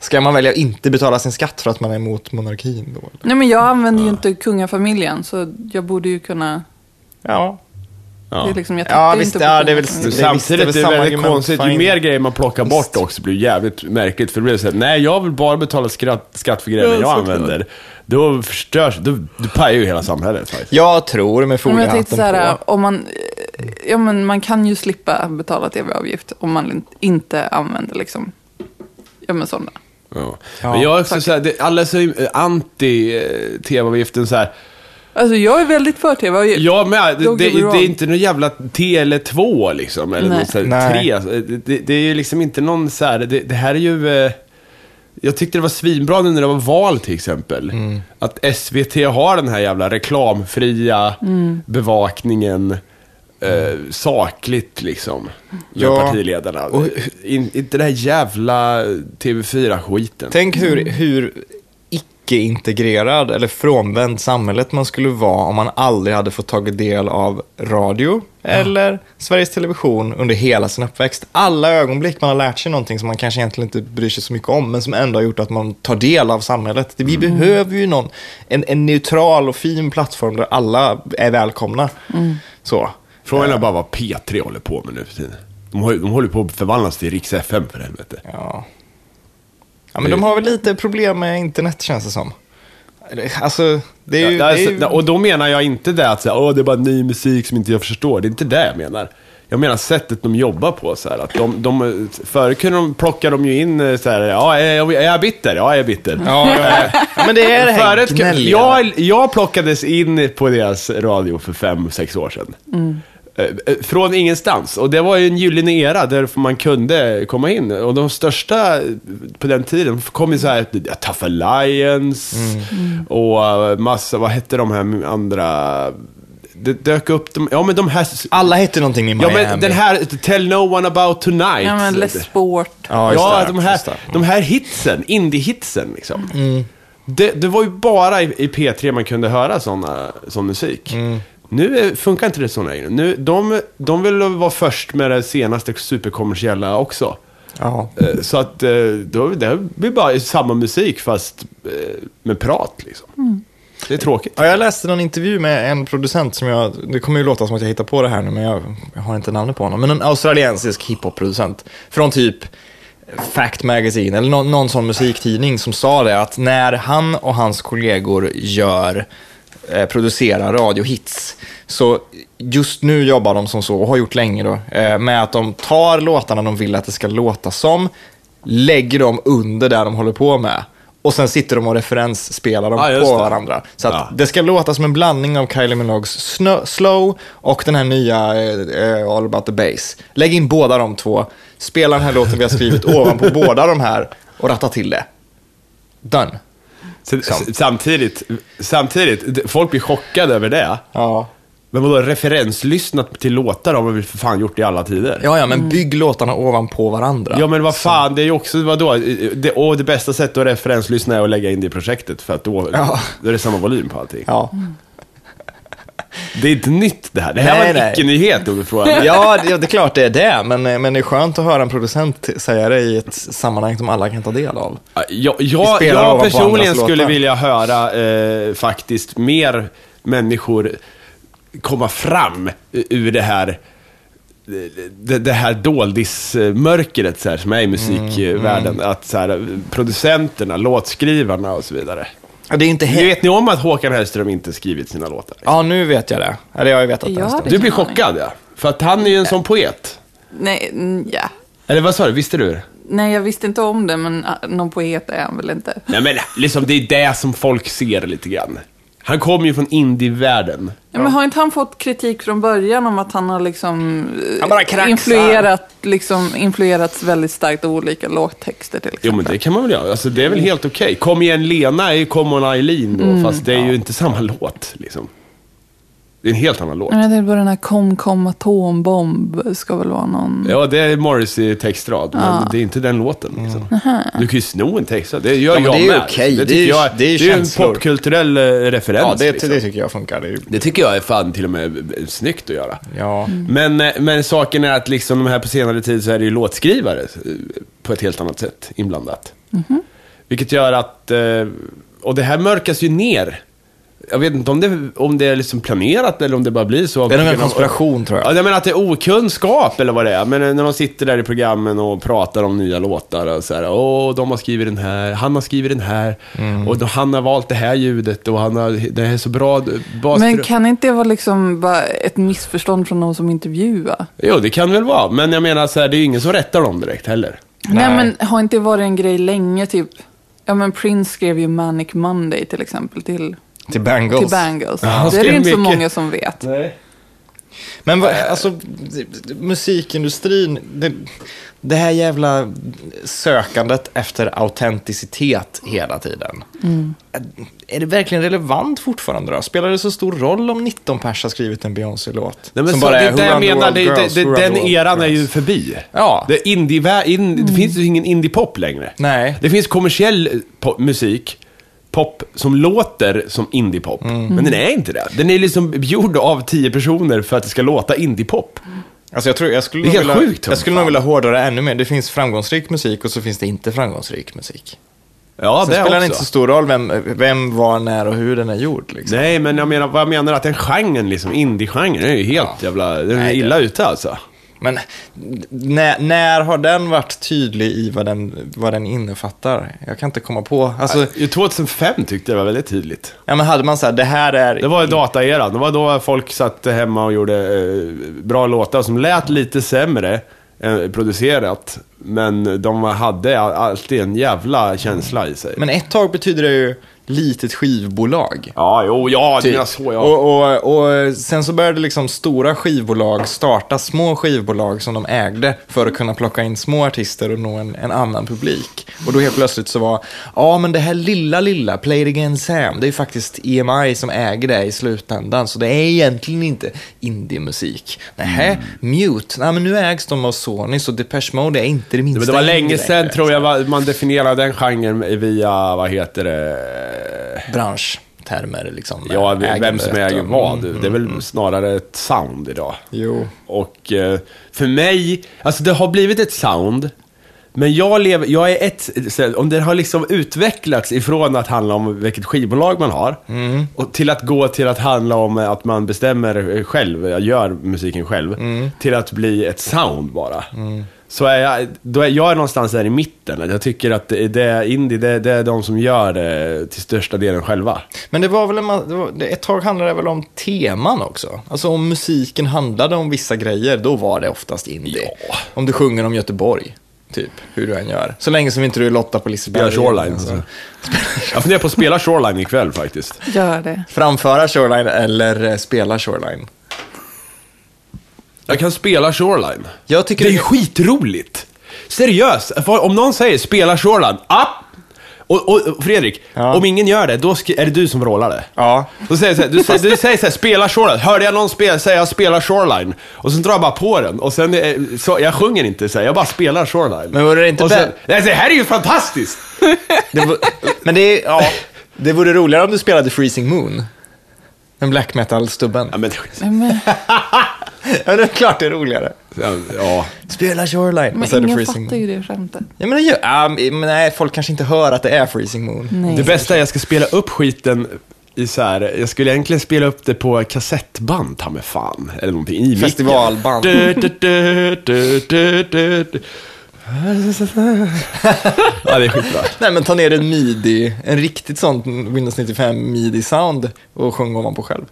Speaker 2: Ska man välja att inte betala sin skatt för att man är emot monarkin då? eller?
Speaker 1: Nej, men jag använder ju inte kungafamiljen, så jag borde ju kunna...
Speaker 2: Ja,
Speaker 1: Det
Speaker 3: Ja.
Speaker 1: är liksom, jag
Speaker 2: Ja,
Speaker 1: tittar ju
Speaker 2: visst,
Speaker 1: inte på
Speaker 2: ja, det är väl-
Speaker 1: kungafamiljen.
Speaker 2: visst, det är
Speaker 3: Samtidigt
Speaker 2: väl
Speaker 3: är det
Speaker 2: samma
Speaker 3: väldigt
Speaker 2: argument,
Speaker 3: konstigt. Ju
Speaker 2: fine.
Speaker 3: mer grejer man plockar bort också blir jävligt märkligt. För det blir så här, nej jag vill bara betala skatt, skatt för grejerna
Speaker 2: Ja,
Speaker 3: jag
Speaker 2: såklart.
Speaker 3: använder. Då förstörs, då, då pajar ju hela samhället faktiskt.
Speaker 2: Jag tror med
Speaker 1: Men jag tänkte
Speaker 2: foliehatten
Speaker 1: så här,
Speaker 2: på.
Speaker 1: om man, ja, men man kan ju slippa betala tv-avgift om man inte använder liksom, ja men sådana.
Speaker 3: Ja.
Speaker 2: Ja,
Speaker 3: Men jag är också såhär, alla är så eh, anti eh, tv-avgiften såhär.
Speaker 1: Alltså jag är väldigt för tv-avgift.
Speaker 3: Ja, men det,
Speaker 1: Don't
Speaker 3: det,
Speaker 1: get me
Speaker 3: det
Speaker 1: wrong.
Speaker 3: är inte någon jävla Tele2 liksom, eller
Speaker 1: Nej.
Speaker 3: någon så här,
Speaker 2: Nej.
Speaker 3: tre. Alltså, Det, det är ju liksom inte någon så här, det, det här är ju... eh, Jag tyckte det var svinbra nu när det var val till exempel.
Speaker 2: Mm.
Speaker 3: Att SVT har den här jävla reklamfria
Speaker 1: Mm.
Speaker 3: bevakningen. Eh, sakligt liksom. Gör
Speaker 2: Ja.
Speaker 3: partiledarna. In, inte det här jävla TV4-skiten.
Speaker 2: Tänk hur,
Speaker 1: mm.
Speaker 2: hur icke-integrerad eller frånvänd samhället man skulle vara om man aldrig hade fått tagit del av radio eller Sveriges Television under hela sin uppväxt. Alla ögonblick man har lärt sig någonting som man kanske egentligen inte bryr sig så mycket om, men som ändå har gjort att man tar del av samhället. Vi behöver ju någon, en, en neutral och fin plattform där alla är välkomna.
Speaker 1: Mm.
Speaker 2: Så.
Speaker 3: Frågan
Speaker 2: Eh.
Speaker 3: är bara vad P3 håller på med nu för tiden. De, har, ju- de håller på att förvandlas till Riks FM för helvete.
Speaker 2: Ja. ja, men de har väl lite problem med internet känns det som. Eller, Alltså, det är ju...
Speaker 3: Ja,
Speaker 2: det är ju...
Speaker 3: alltså, Och då menar jag inte det att säga, Åh, det är bara ny musik som inte jag förstår. Det är inte det jag menar. Jag menar sättet de jobbar på. Så här, att de, de, förr kunde de, plockade de ju in eh, så här, ja, är jag, är jag bitter? Ja, jag är bitter.
Speaker 2: Ja, ja, ja. ja, men det är det här
Speaker 3: Förut, kunde-
Speaker 2: gnälliga.
Speaker 3: jag, jag plockades in på deras radio för fem, sex år sedan. Eh, eh, Från ingenstans. Och det var ju en gyllene era där man kunde komma in. Och de största eh, på den tiden kom ju så här, ja, Tough Alliance och eh, massa, vad hette de här andra... Det dök upp, de, ja men de här...
Speaker 2: Alla heter någonting i Miami.
Speaker 3: Ja men den här eh, Tell No One About Tonight.
Speaker 1: Ja, men Les Sport.
Speaker 2: Ja, just
Speaker 3: Ja,
Speaker 2: det,
Speaker 3: de, här,
Speaker 2: just det.
Speaker 3: de här hitsen, indie-hitsen liksom. Det, det var ju bara i, i P3 man kunde höra såna, sån musik. Nu är- funkar inte det så längre. Nu, de, de vill vara först med det senaste superkommersiella också.
Speaker 2: Ja.
Speaker 3: Eh, Så att eh, då, det blir bara samma musik fast eh, med prat liksom. Det är tråkigt.
Speaker 2: Ja, jag läste någon intervju med en producent som jag, det kommer ju låta som att jag hittar på det här nu, men jag, jag har inte namnet på honom. Men en australiensisk hiphop-producent från typ Fact Magazine eller någon, någon sån musiktidning som sa det att när han och hans kollegor gör, eh, producerar radiohits, så just nu jobbar de som så, och har gjort länge då, eh, med att de tar låtarna de vill att det ska låta som, lägger dem under där de håller på med. Och sen sitter de och referensspelar dem
Speaker 3: Ja, just
Speaker 2: på
Speaker 3: det.
Speaker 2: varandra. Så att
Speaker 3: Ja.
Speaker 2: det ska låta som en blandning av Kylie Minogues snö, Slow och den här nya eh, eh, All about the bass. Lägg in båda de två, spela den här låten vi har skrivit ovanpå båda de här och ratta till det. Done.
Speaker 3: Sen- s- Samtidigt, samtidigt, d- folk blir chockade över det.
Speaker 2: Ja.
Speaker 3: Men vadå, referenslyssnat till låtar har man väl för fan gjort i alla tider?
Speaker 2: Ja, ja,
Speaker 1: Mm.
Speaker 2: men bygg låtarna ovanpå varandra.
Speaker 3: Ja, men vad fan, det är ju också, vadå, det, och det bästa sättet att referenslyssna är att lägga in det i projektet, för att då,
Speaker 2: Ja.
Speaker 3: då är det samma volym på allting.
Speaker 2: Ja,
Speaker 3: Det är inte nytt det här, det här
Speaker 2: Nej,
Speaker 3: var en
Speaker 2: nej.
Speaker 3: icke-nyhet, Ove Frågan.
Speaker 2: ja det, det är klart det är det, men, eh, men det är skönt att höra en producent säga det i ett sammanhang som alla kan ta del av.
Speaker 3: Jag,
Speaker 2: Vi
Speaker 3: jag,
Speaker 2: spelar
Speaker 3: jag
Speaker 2: ovanpå
Speaker 3: personligen
Speaker 2: andras
Speaker 3: skulle
Speaker 2: låtar.
Speaker 3: vilja höra eh, faktiskt mer människor komma fram eh, ur det här eh, det, det här doldismörkret så här, som är i
Speaker 2: Mm,
Speaker 3: musikvärlden. Att så här, producenterna, låtskrivarna och så vidare.
Speaker 2: Ja, Det är inte
Speaker 3: Nu
Speaker 2: helt...
Speaker 3: vet ni om att Håkan Hellström inte skrivit sina låtar?
Speaker 2: Ja, nu vet jag det. Eller jag har ju vetat det.
Speaker 1: Ja,
Speaker 2: en stund.
Speaker 1: det-
Speaker 3: Du blir chockad ja, för att han är ju en sån poet.
Speaker 1: Nej, mm, ja.
Speaker 3: Eller vad sa du, visste du?
Speaker 1: Nej, jag visste inte om det, men ah, någon poet är han väl inte.
Speaker 3: Nej men liksom, det är det som folk ser lite grann. Han kommer ju från indievärlden.
Speaker 1: Ja, men har inte han fått kritik från början om att han har liksom eh,
Speaker 2: Han bara kraxar.
Speaker 1: influerat, liksom influerats väldigt starkt av olika låttexter till exempel?
Speaker 3: Jo, men det kan man väl göra. Alltså, det är väl helt okej. Kom igen Lena är ju Come on Eileen då, fast det är ju inte samma låt. Liksom. Det är en helt annan låt.
Speaker 1: Men jag tänkte på den här kom kom atombomb, ska väl vara någon...
Speaker 3: Ja, det är Morrissey textrad, men det är inte den låten. Liksom. Du kan ju sno en textrad. Det gör
Speaker 2: Ja, men
Speaker 3: jag
Speaker 2: det är ju
Speaker 3: med.
Speaker 2: okej.
Speaker 3: Det,
Speaker 2: Det är
Speaker 3: tycker
Speaker 2: ju-
Speaker 3: jag,
Speaker 2: det är ju
Speaker 3: det är ju en
Speaker 2: känslor.
Speaker 3: popkulturell eh, referens.
Speaker 2: Ja, det,
Speaker 3: liksom.
Speaker 2: det tycker jag funkar. Det är ju...
Speaker 3: Det tycker jag är fan till och med eh, snyggt att göra.
Speaker 2: Ja.
Speaker 1: Mm.
Speaker 3: Men, eh, men saken är att liksom de här på senare tid så är det ju låtskrivare eh, på ett helt annat sätt inblandat. Vilket gör att, eh, och det här mörkas ju ner. Jag vet inte om det, om det är liksom planerat eller om det bara blir så.
Speaker 2: Det är nog en konspiration, tror
Speaker 3: Ja,
Speaker 2: jag.
Speaker 3: jag menar att det är okunskap eller vad det är. Men eh, när de sitter där i programmen och pratar om nya låtar och så här. Åh, de har skrivit den här, han har skrivit den här.
Speaker 2: Mm.
Speaker 3: Och då- han har valt det här ljudet och han har, det här är så bra bas.
Speaker 1: Men kan inte det vara liksom bara ett missförstånd från någon som intervjuar?
Speaker 3: Jo, det kan väl vara. Men jag menar så här, det är ju ingen som rättar dem direkt heller.
Speaker 1: Nej.
Speaker 2: Nej.
Speaker 1: men har inte det varit en grej länge, typ? Ja, men Prince skrev ju Manic Monday till exempel till,
Speaker 2: Till Bangles.
Speaker 1: till Bangles.
Speaker 3: han
Speaker 1: det är
Speaker 3: skrev
Speaker 1: det inte så
Speaker 3: mycket.
Speaker 1: många som vet.
Speaker 3: Nej.
Speaker 2: Men vad, alltså, musikindustrin, det, det här jävla sökandet efter autenticitet hela tiden.
Speaker 1: Mm.
Speaker 2: Är det verkligen relevant fortfarande då? Spelar det så stor roll om 19 pers har skrivit en Beyoncé-låt?
Speaker 3: Nej, men
Speaker 2: Som
Speaker 3: så, det, är
Speaker 2: "Who
Speaker 3: det jag
Speaker 2: run the
Speaker 3: menar,
Speaker 2: world
Speaker 3: det, är-
Speaker 2: girls,
Speaker 3: det,
Speaker 2: who
Speaker 3: det,
Speaker 2: run the
Speaker 3: den
Speaker 2: world
Speaker 3: eran är
Speaker 2: girls?"
Speaker 3: ju förbi.
Speaker 2: Ja.
Speaker 3: Det, är indie, in, det finns ju ingen indiepop längre.
Speaker 2: Nej.
Speaker 3: Det finns kommersiell eh, po- musik, pop, som låter som indiepop.
Speaker 2: Mm.
Speaker 3: Men den är inte det. Den är liksom gjord av tio personer för att det ska låta indiepop.
Speaker 2: Alltså jag, tror, jag skulle,
Speaker 3: Det är
Speaker 2: nog
Speaker 3: helt
Speaker 2: vilja,
Speaker 3: sjukt,
Speaker 2: jag skulle nog
Speaker 3: fan.
Speaker 2: vilja hårdra det ännu mer. Det finns framgångsrik musik och så finns det inte framgångsrik musik.
Speaker 3: Ja,
Speaker 2: Sen
Speaker 3: det
Speaker 2: spelar det
Speaker 3: också.
Speaker 2: inte så stor roll vem, vem, var, när och hur den är gjord. Liksom.
Speaker 3: Nej, men jag menar, vad jag menar att den genren, liksom, indie-genren, den är ju helt
Speaker 2: Ja.
Speaker 3: jävla, den är
Speaker 2: Nej, det-
Speaker 3: illa ute alltså.
Speaker 2: Men när, när har den varit tydlig i vad den, vad den innefattar? Jag kan inte komma på. Alltså,
Speaker 3: I 2005 tyckte jag det var väldigt tydligt.
Speaker 2: ja, men hade man så här, det här är...
Speaker 3: Det var ju dataeran. Det var då folk satt hemma och gjorde eh, bra låtar som lät lite sämre än producerat. Men de hade all- alltid en jävla känsla i sig.
Speaker 2: Men ett tag betyder det ju litet skivbolag.
Speaker 3: Ja, jo, ja, det
Speaker 2: Typ.
Speaker 3: menar så ja.
Speaker 2: och, och, och sen så började liksom stora skivbolag starta små skivbolag som de ägde för att kunna plocka in små artister och nå en, en annan publik. Och då helt plötsligt så var, ja men det här lilla, lilla, Play It Again Sam, det är ju faktiskt EMI som äger det i slutändan, så det är egentligen inte indiemusik. Nähä,
Speaker 3: Mm.
Speaker 2: Mute, nej men nu ägs de av Sony, så Depeche Mode är inte det liksom. minsta
Speaker 3: Men det var länge
Speaker 2: indie
Speaker 3: sedan
Speaker 2: längre.
Speaker 3: tror jag va- man definierade den genren via, vad heter det?
Speaker 2: Branschtermer liksom.
Speaker 3: Ja, vem
Speaker 2: ägandet
Speaker 3: som äger
Speaker 2: och-
Speaker 3: vad. Det är väl snarare ett sound idag.
Speaker 2: Jo.
Speaker 3: Och eh, för mig, alltså det har blivit ett sound. Men jag lever, jag är ett, så om det har liksom utvecklats ifrån att handla om vilket skivbolag man har, och till att gå till att handla om att man bestämmer själv, jag gör musiken själv, till att bli ett sound bara. Så är jag, då är jag någonstans där i mitten. Jag tycker att det, det är indie, det, det är de som gör det till största delen själva.
Speaker 2: Men det var väl en, ma- det var, det- ett tag handlade det väl om teman också? Alltså om musiken handlade om vissa grejer, då var det oftast indie.
Speaker 3: Ja.
Speaker 2: Om du sjunger om Göteborg, typ, hur du än gör. Så länge som inte du lottar på
Speaker 3: Spelar
Speaker 2: Liseberg.
Speaker 3: Shoreline.
Speaker 2: alltså.
Speaker 3: Jag funderar på att spela Shoreline ikväll faktiskt.
Speaker 1: Gör det.
Speaker 2: Framföra Shoreline eller eh, spela Shoreline.
Speaker 3: Jag kan spela Shoreline.
Speaker 2: Jag tycker
Speaker 3: det är
Speaker 2: det-
Speaker 3: skitroligt. Seriöst, för om någon säger spela Shoreline, app! Och, och och Fredrik,
Speaker 2: Ja.
Speaker 3: om ingen gör det, då skri- är det du som vrålar det.
Speaker 2: Ja.
Speaker 3: Då säger jag så här, du, säger, du säger så här, spela Shoreline. Hörde jag någon spela, säga spela Shoreline? Och sen drar jag bara på den. Och sen, eh, så, jag sjunger inte så här, jag bara spelar Shoreline.
Speaker 2: Men vore det inte
Speaker 3: och sen,
Speaker 2: bä-
Speaker 3: Nej, det här är ju fantastiskt!
Speaker 2: Det v- men det är, ja. Det vore roligare om du spelade Freezing Moon. Den black metal-stubben.
Speaker 3: Ja, men,
Speaker 1: Nej, men,
Speaker 2: Ja, det är klart det är roligare.
Speaker 3: ja.
Speaker 2: Spela Shoreline. och så är
Speaker 1: men
Speaker 2: det
Speaker 1: ingen
Speaker 2: Freezing
Speaker 1: fattar
Speaker 2: Moon.
Speaker 1: ju det skämtet.
Speaker 2: Ja, men, det gör, ja, men nej, folk kanske inte hör att det är Freezing Moon.
Speaker 1: Nej.
Speaker 3: Det bästa är att jag ska spela upp skiten i så här, jag skulle egentligen spela upp det på kassettband, ta mig fan. Eller någonting, i micken.
Speaker 2: Festivalband.
Speaker 3: Du, du, du, du, du, du, du. Ja, det är skitbra.
Speaker 2: Nej, men ta ner en midi, en riktigt sånt Windows 95 midi-sound och sjung ovanpå själv.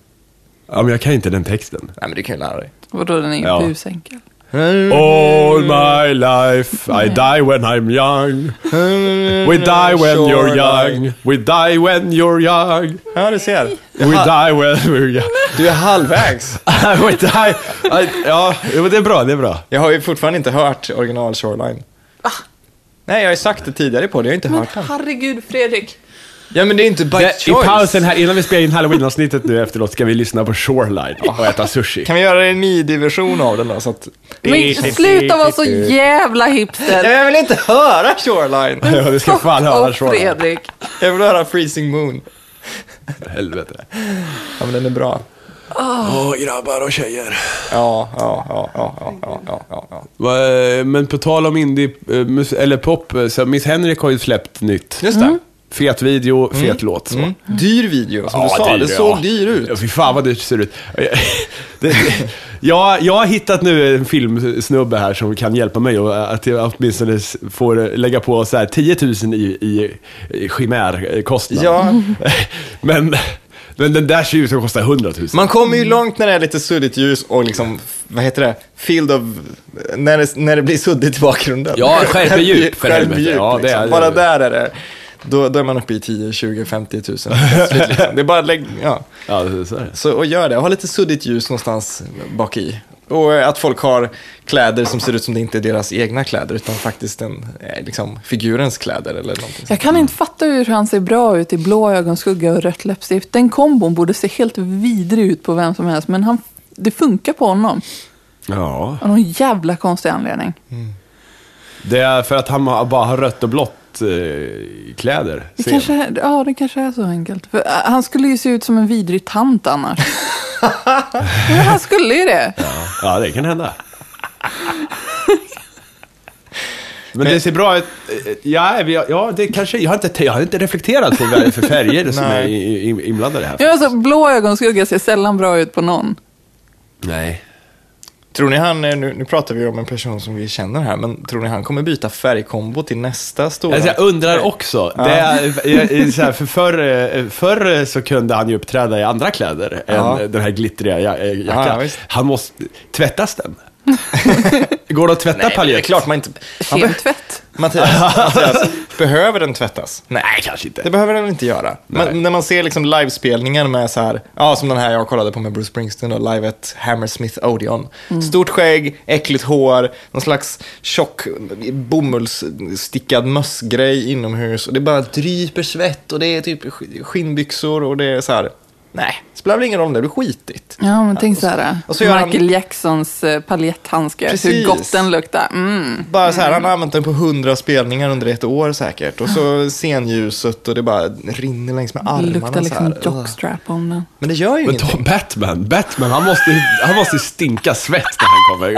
Speaker 3: Ja, men jag kan inte den texten.
Speaker 2: Nej, men det kan ju lära dig.
Speaker 1: Vadå, den är ju
Speaker 3: Ja.
Speaker 1: busenkel.
Speaker 3: Oh, All my life I die when I'm young We die when you're young We die when you're young
Speaker 2: Ja, du ser.
Speaker 3: We die when we're young
Speaker 2: Du är halvvägs.
Speaker 3: We die I, Ja, jo, men det är bra, det är bra.
Speaker 2: Jag har ju fortfarande inte hört original Shoreline.
Speaker 1: Va?
Speaker 2: Nej, jag har ju sagt det tidigare på det. Jag har inte
Speaker 1: Men
Speaker 2: hört den.
Speaker 1: herregud Fredrik.
Speaker 2: Ja, men det är inte by
Speaker 3: I
Speaker 2: choice.
Speaker 3: pausen här, innan vi spelar in halloween-avsnittet nu efteråt, ska vi lyssna på Shoreline och äta sushi.
Speaker 2: Kan vi göra en midi-version av den då? Så att...
Speaker 1: Men sluta vara så jävla hipster.
Speaker 2: Jag vill inte höra Shoreline.
Speaker 3: Ja, du ska fan höra
Speaker 1: Stopp,
Speaker 3: Shoreline.
Speaker 1: Fredrik.
Speaker 2: Jag vill höra Freezing Moon.
Speaker 3: Helvete.
Speaker 2: Ja, men den är bra. Ah.
Speaker 3: Åh, grabbar och tjejer.
Speaker 2: Ja, ja, ja, ja, ja, ja, ja, ja, ja.
Speaker 3: Va, eh, Men på tal om indie, eh, mus- eller pop, eh, så Miss Henrik har ju släppt nytt. Mm.
Speaker 2: Just det.
Speaker 3: Fet video, fet låt. Så.
Speaker 2: Mm. Dyr video, som du sa.
Speaker 3: dyr,
Speaker 2: det såg dyr ut.
Speaker 3: Ja, fy fan vad dyrt det ser ut. Det- jag, jag har hittat nu en filmsnubbe här som kan hjälpa mig och att jag åtminstone s- får lägga på så här 10 000 i, i, i chimärkostnad.
Speaker 2: Ja.
Speaker 3: men, men den där ser ut att kosta 100 000.
Speaker 2: Man kommer ju långt när det är lite suddigt ljus och liksom, vad heter det, field of, när det, när det blir suddigt i bakgrunden.
Speaker 3: Ja, skärpedjup, för helvete.
Speaker 2: Skärpedjup,
Speaker 3: Ja, det
Speaker 2: liksom.
Speaker 3: är-
Speaker 2: Bara där är det. Då, då är man uppe i 10, 20, 50 tusen. plötsligt, liksom. Det är bara att lägga, ja.
Speaker 3: Ja, så är det.
Speaker 2: Så, och gör det, ha lite suddigt ljus någonstans bak i. Och eh, att folk har kläder som ser ut som det inte är deras egna kläder, utan faktiskt en, eh, liksom, figurens kläder eller någonting.
Speaker 1: Jag kan inte fatta hur han ser bra ut i blå ögonskugga och rött läppstift. Den kombon borde se helt vidrig ut på vem som helst, men han, det funkar på honom.
Speaker 3: Ja.
Speaker 1: Av någon jävla konstig anledning.
Speaker 3: Det är för att han har- bara har rött och blått eh, kläder.
Speaker 1: Det
Speaker 3: Ser.
Speaker 1: kanske, är- ja, det kanske är så enkelt. För, äh, han skulle ju se ut som en vidrig tant annars. men han skulle ju det.
Speaker 3: Ja, det kan hända. Men det ser bra ut. Eh, Ja, vi- ja det kanske, jag, har inte, jag har inte reflekterat på vad det är för färger som är
Speaker 2: Nej.
Speaker 3: i- i- inblandade här.
Speaker 1: Ja, alltså, blå ögonskugga ser sällan bra ut på någon.
Speaker 3: Nej.
Speaker 2: Tror ni han, eh, nu, nu pratar vi om en person som vi känner här, men tror ni han kommer byta färgkombo till nästa stora?
Speaker 3: Alltså, jag undrar också. Det är, jag- jag- så här, för förr, eh, förr så kunde han ju uppträda i andra kläder
Speaker 2: Ja.
Speaker 3: än den här glittriga ja- eh,
Speaker 2: Ja, ja,
Speaker 3: jackan.
Speaker 2: visst.
Speaker 3: Han måste... Tvättas den? Går det att tvätta
Speaker 2: Nej, men det är
Speaker 3: paljett?
Speaker 2: klart man inte...
Speaker 1: Kemtvätt.
Speaker 2: Mattias, Mattias, behöver den tvättas? Nej.
Speaker 3: Nej, kanske inte.
Speaker 2: Det behöver den inte göra.
Speaker 3: Nej.
Speaker 2: Men när man ser liksom livespelningar med så här, ja som den här jag kollade på med Bruce Springsteen och live at Hammersmith Odeon. Stort skägg, äckligt hår, någon slags tjock bomullsstickad mössgrej inomhus och det bara dryper svett och det är typ sk- skinnbyxor och det är så här, nej, spelar väl ingen roll om det blir skitigt.
Speaker 1: Ja, men tänk så här. eh,
Speaker 2: och så gör han-
Speaker 1: Michael Jacksons eh, paljetthandskar. Hur
Speaker 2: Precis.
Speaker 1: gott den luktar. Mm. Ah.
Speaker 2: Bara så här, han har använt den på hundra spelningar under ett år säkert. Och så scenljuset och det bara rinner längs med
Speaker 1: Det
Speaker 2: armarna.
Speaker 1: luktar
Speaker 2: så här.
Speaker 1: liksom jockstrap om den.
Speaker 2: Men det gör ju
Speaker 3: Men
Speaker 2: ingenting.
Speaker 3: ta Batman. Batman, han måste, han måste ju stinka svett när han kommer.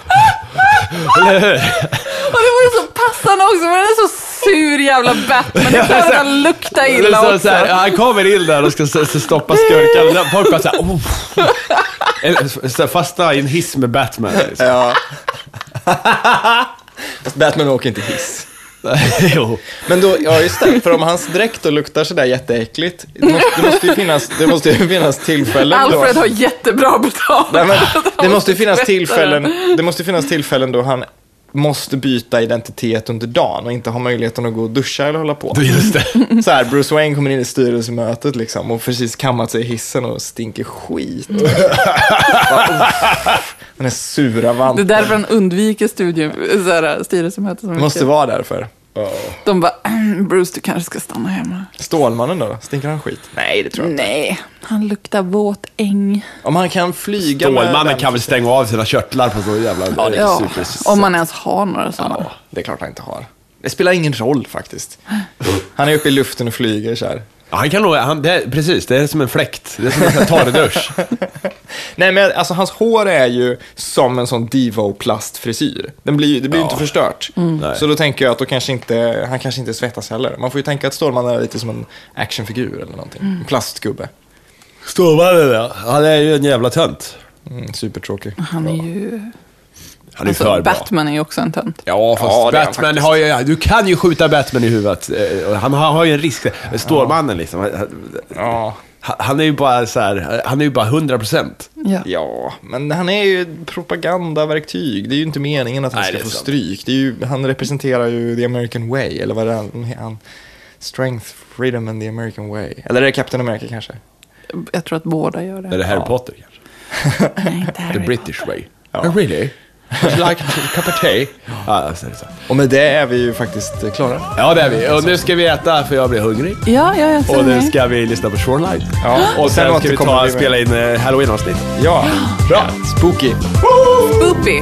Speaker 3: Eller hur?
Speaker 1: Och det var ju så passande också, för den är så sur jävla Batman. Det är klart att han luktar
Speaker 3: Eller
Speaker 1: illa
Speaker 3: så,
Speaker 1: också.
Speaker 3: så här, han kommer in där och ska så, så stoppa skurkarna. Folk bara såhär... Oh. Eller, så här, fastna i en hiss med Batman. Liksom.
Speaker 2: Ja. Fast Batman åker inte hiss.
Speaker 3: jo.
Speaker 2: Men då, ja just det, för om hans dräkt då luktar sådär jätteäckligt, det måste, det måste ju finnas, det måste ju finnas tillfällen
Speaker 1: Alfred
Speaker 2: då.
Speaker 1: har jättebra betalt.
Speaker 2: Nej, men, det måste ju finnas
Speaker 1: Tvätta
Speaker 2: tillfällen,
Speaker 1: den.
Speaker 2: det måste ju finnas tillfällen då han måste byta identitet under dagen och inte ha möjligheten att gå och duscha eller hålla på.
Speaker 3: Just det.
Speaker 2: Så här, Bruce Wayne kommer in i styrelsemötet liksom och precis kammat sig i hissen och stinker skit. Bara, uff, Den är sura
Speaker 1: Det är
Speaker 2: vanten.
Speaker 1: därför han undviker studium, så här, styrelsemöten. så
Speaker 2: Det
Speaker 1: mycket.
Speaker 2: måste vara därför.
Speaker 1: De bara, "Ehm, Bruce du kanske ska stanna hemma.
Speaker 2: Stålmannen då? Stinker han skit? Nej, det tror jag inte.
Speaker 1: Nej, han luktar våt äng.
Speaker 2: Om han kan flyga med...
Speaker 3: Stålmannen
Speaker 2: den-
Speaker 3: kan väl stänga av sina körtlar på så jävla...
Speaker 2: Ja, det är
Speaker 1: Ja,
Speaker 3: super-
Speaker 1: om man ens har några sådana.
Speaker 2: Ja, det är klart han inte har. Det spelar ingen roll faktiskt. Han är uppe i luften och flyger så här.
Speaker 3: Ja, Han kan nog, han, det, är- precis, det är som en fläkt. Det är som en sån här torrdusch.
Speaker 2: Nej men alltså hans hår är ju som en sån Divo-plastfrisyr. Den blir, ju- det blir ju inte förstört.
Speaker 3: Mm. Nej.
Speaker 2: Så då tänker jag att då kanske inte, han kanske inte svettas heller. Man får ju tänka att Stålmannen är lite som en actionfigur eller någonting.
Speaker 3: Mm.
Speaker 2: En plastgubbe.
Speaker 3: Stålmannen ja, han är ju en jävla tönt.
Speaker 2: Mm, supertråkig.
Speaker 1: Han är ju...
Speaker 3: Han är för
Speaker 1: Alltså,
Speaker 3: bra.
Speaker 1: Batman är ju också en tönt.
Speaker 3: Ja, fast
Speaker 2: Ja, det är han
Speaker 3: Batman
Speaker 2: faktiskt.
Speaker 3: har ju... Du kan ju skjuta Batman i huvudet. Eh, och Han har, har ju en risk. Stålmannen liksom. han- han-
Speaker 2: Ja.
Speaker 3: Han är ju bara så här, han är ju bara 100 procent.
Speaker 1: Ja.
Speaker 2: Ja, men han är ju ett propagandaverktyg. Det är ju inte meningen att han
Speaker 3: Nej,
Speaker 2: ska
Speaker 3: det är
Speaker 2: få
Speaker 3: sant.
Speaker 2: stryk. Det är ju, han representerar ju the American way, eller vad är det han- han... Strength, freedom and the American way. Eller är det Captain America kanske?
Speaker 1: Jag tror att båda gör det.
Speaker 3: Är det Harry Potter kanske?
Speaker 1: Nej, inte
Speaker 3: The
Speaker 1: Harry
Speaker 3: British way. Oh, really? Would you like a cup of tea? Ja, så är det så.
Speaker 2: Och med det är vi ju faktiskt klara.
Speaker 3: ja, det är vi. Och nu ska vi äta för jag blir hungrig.
Speaker 1: Potter. Ja, ja, jag ser
Speaker 3: Och nu
Speaker 1: det.
Speaker 3: ska vi lyssna på Shoreline.
Speaker 2: Ja,
Speaker 3: Och sen, ska vi
Speaker 2: återkommer
Speaker 3: ta,
Speaker 2: vi med-
Speaker 3: spela in eh, Halloween-avsnitt.
Speaker 2: Ja, bra. Spooky.
Speaker 1: Spoopy!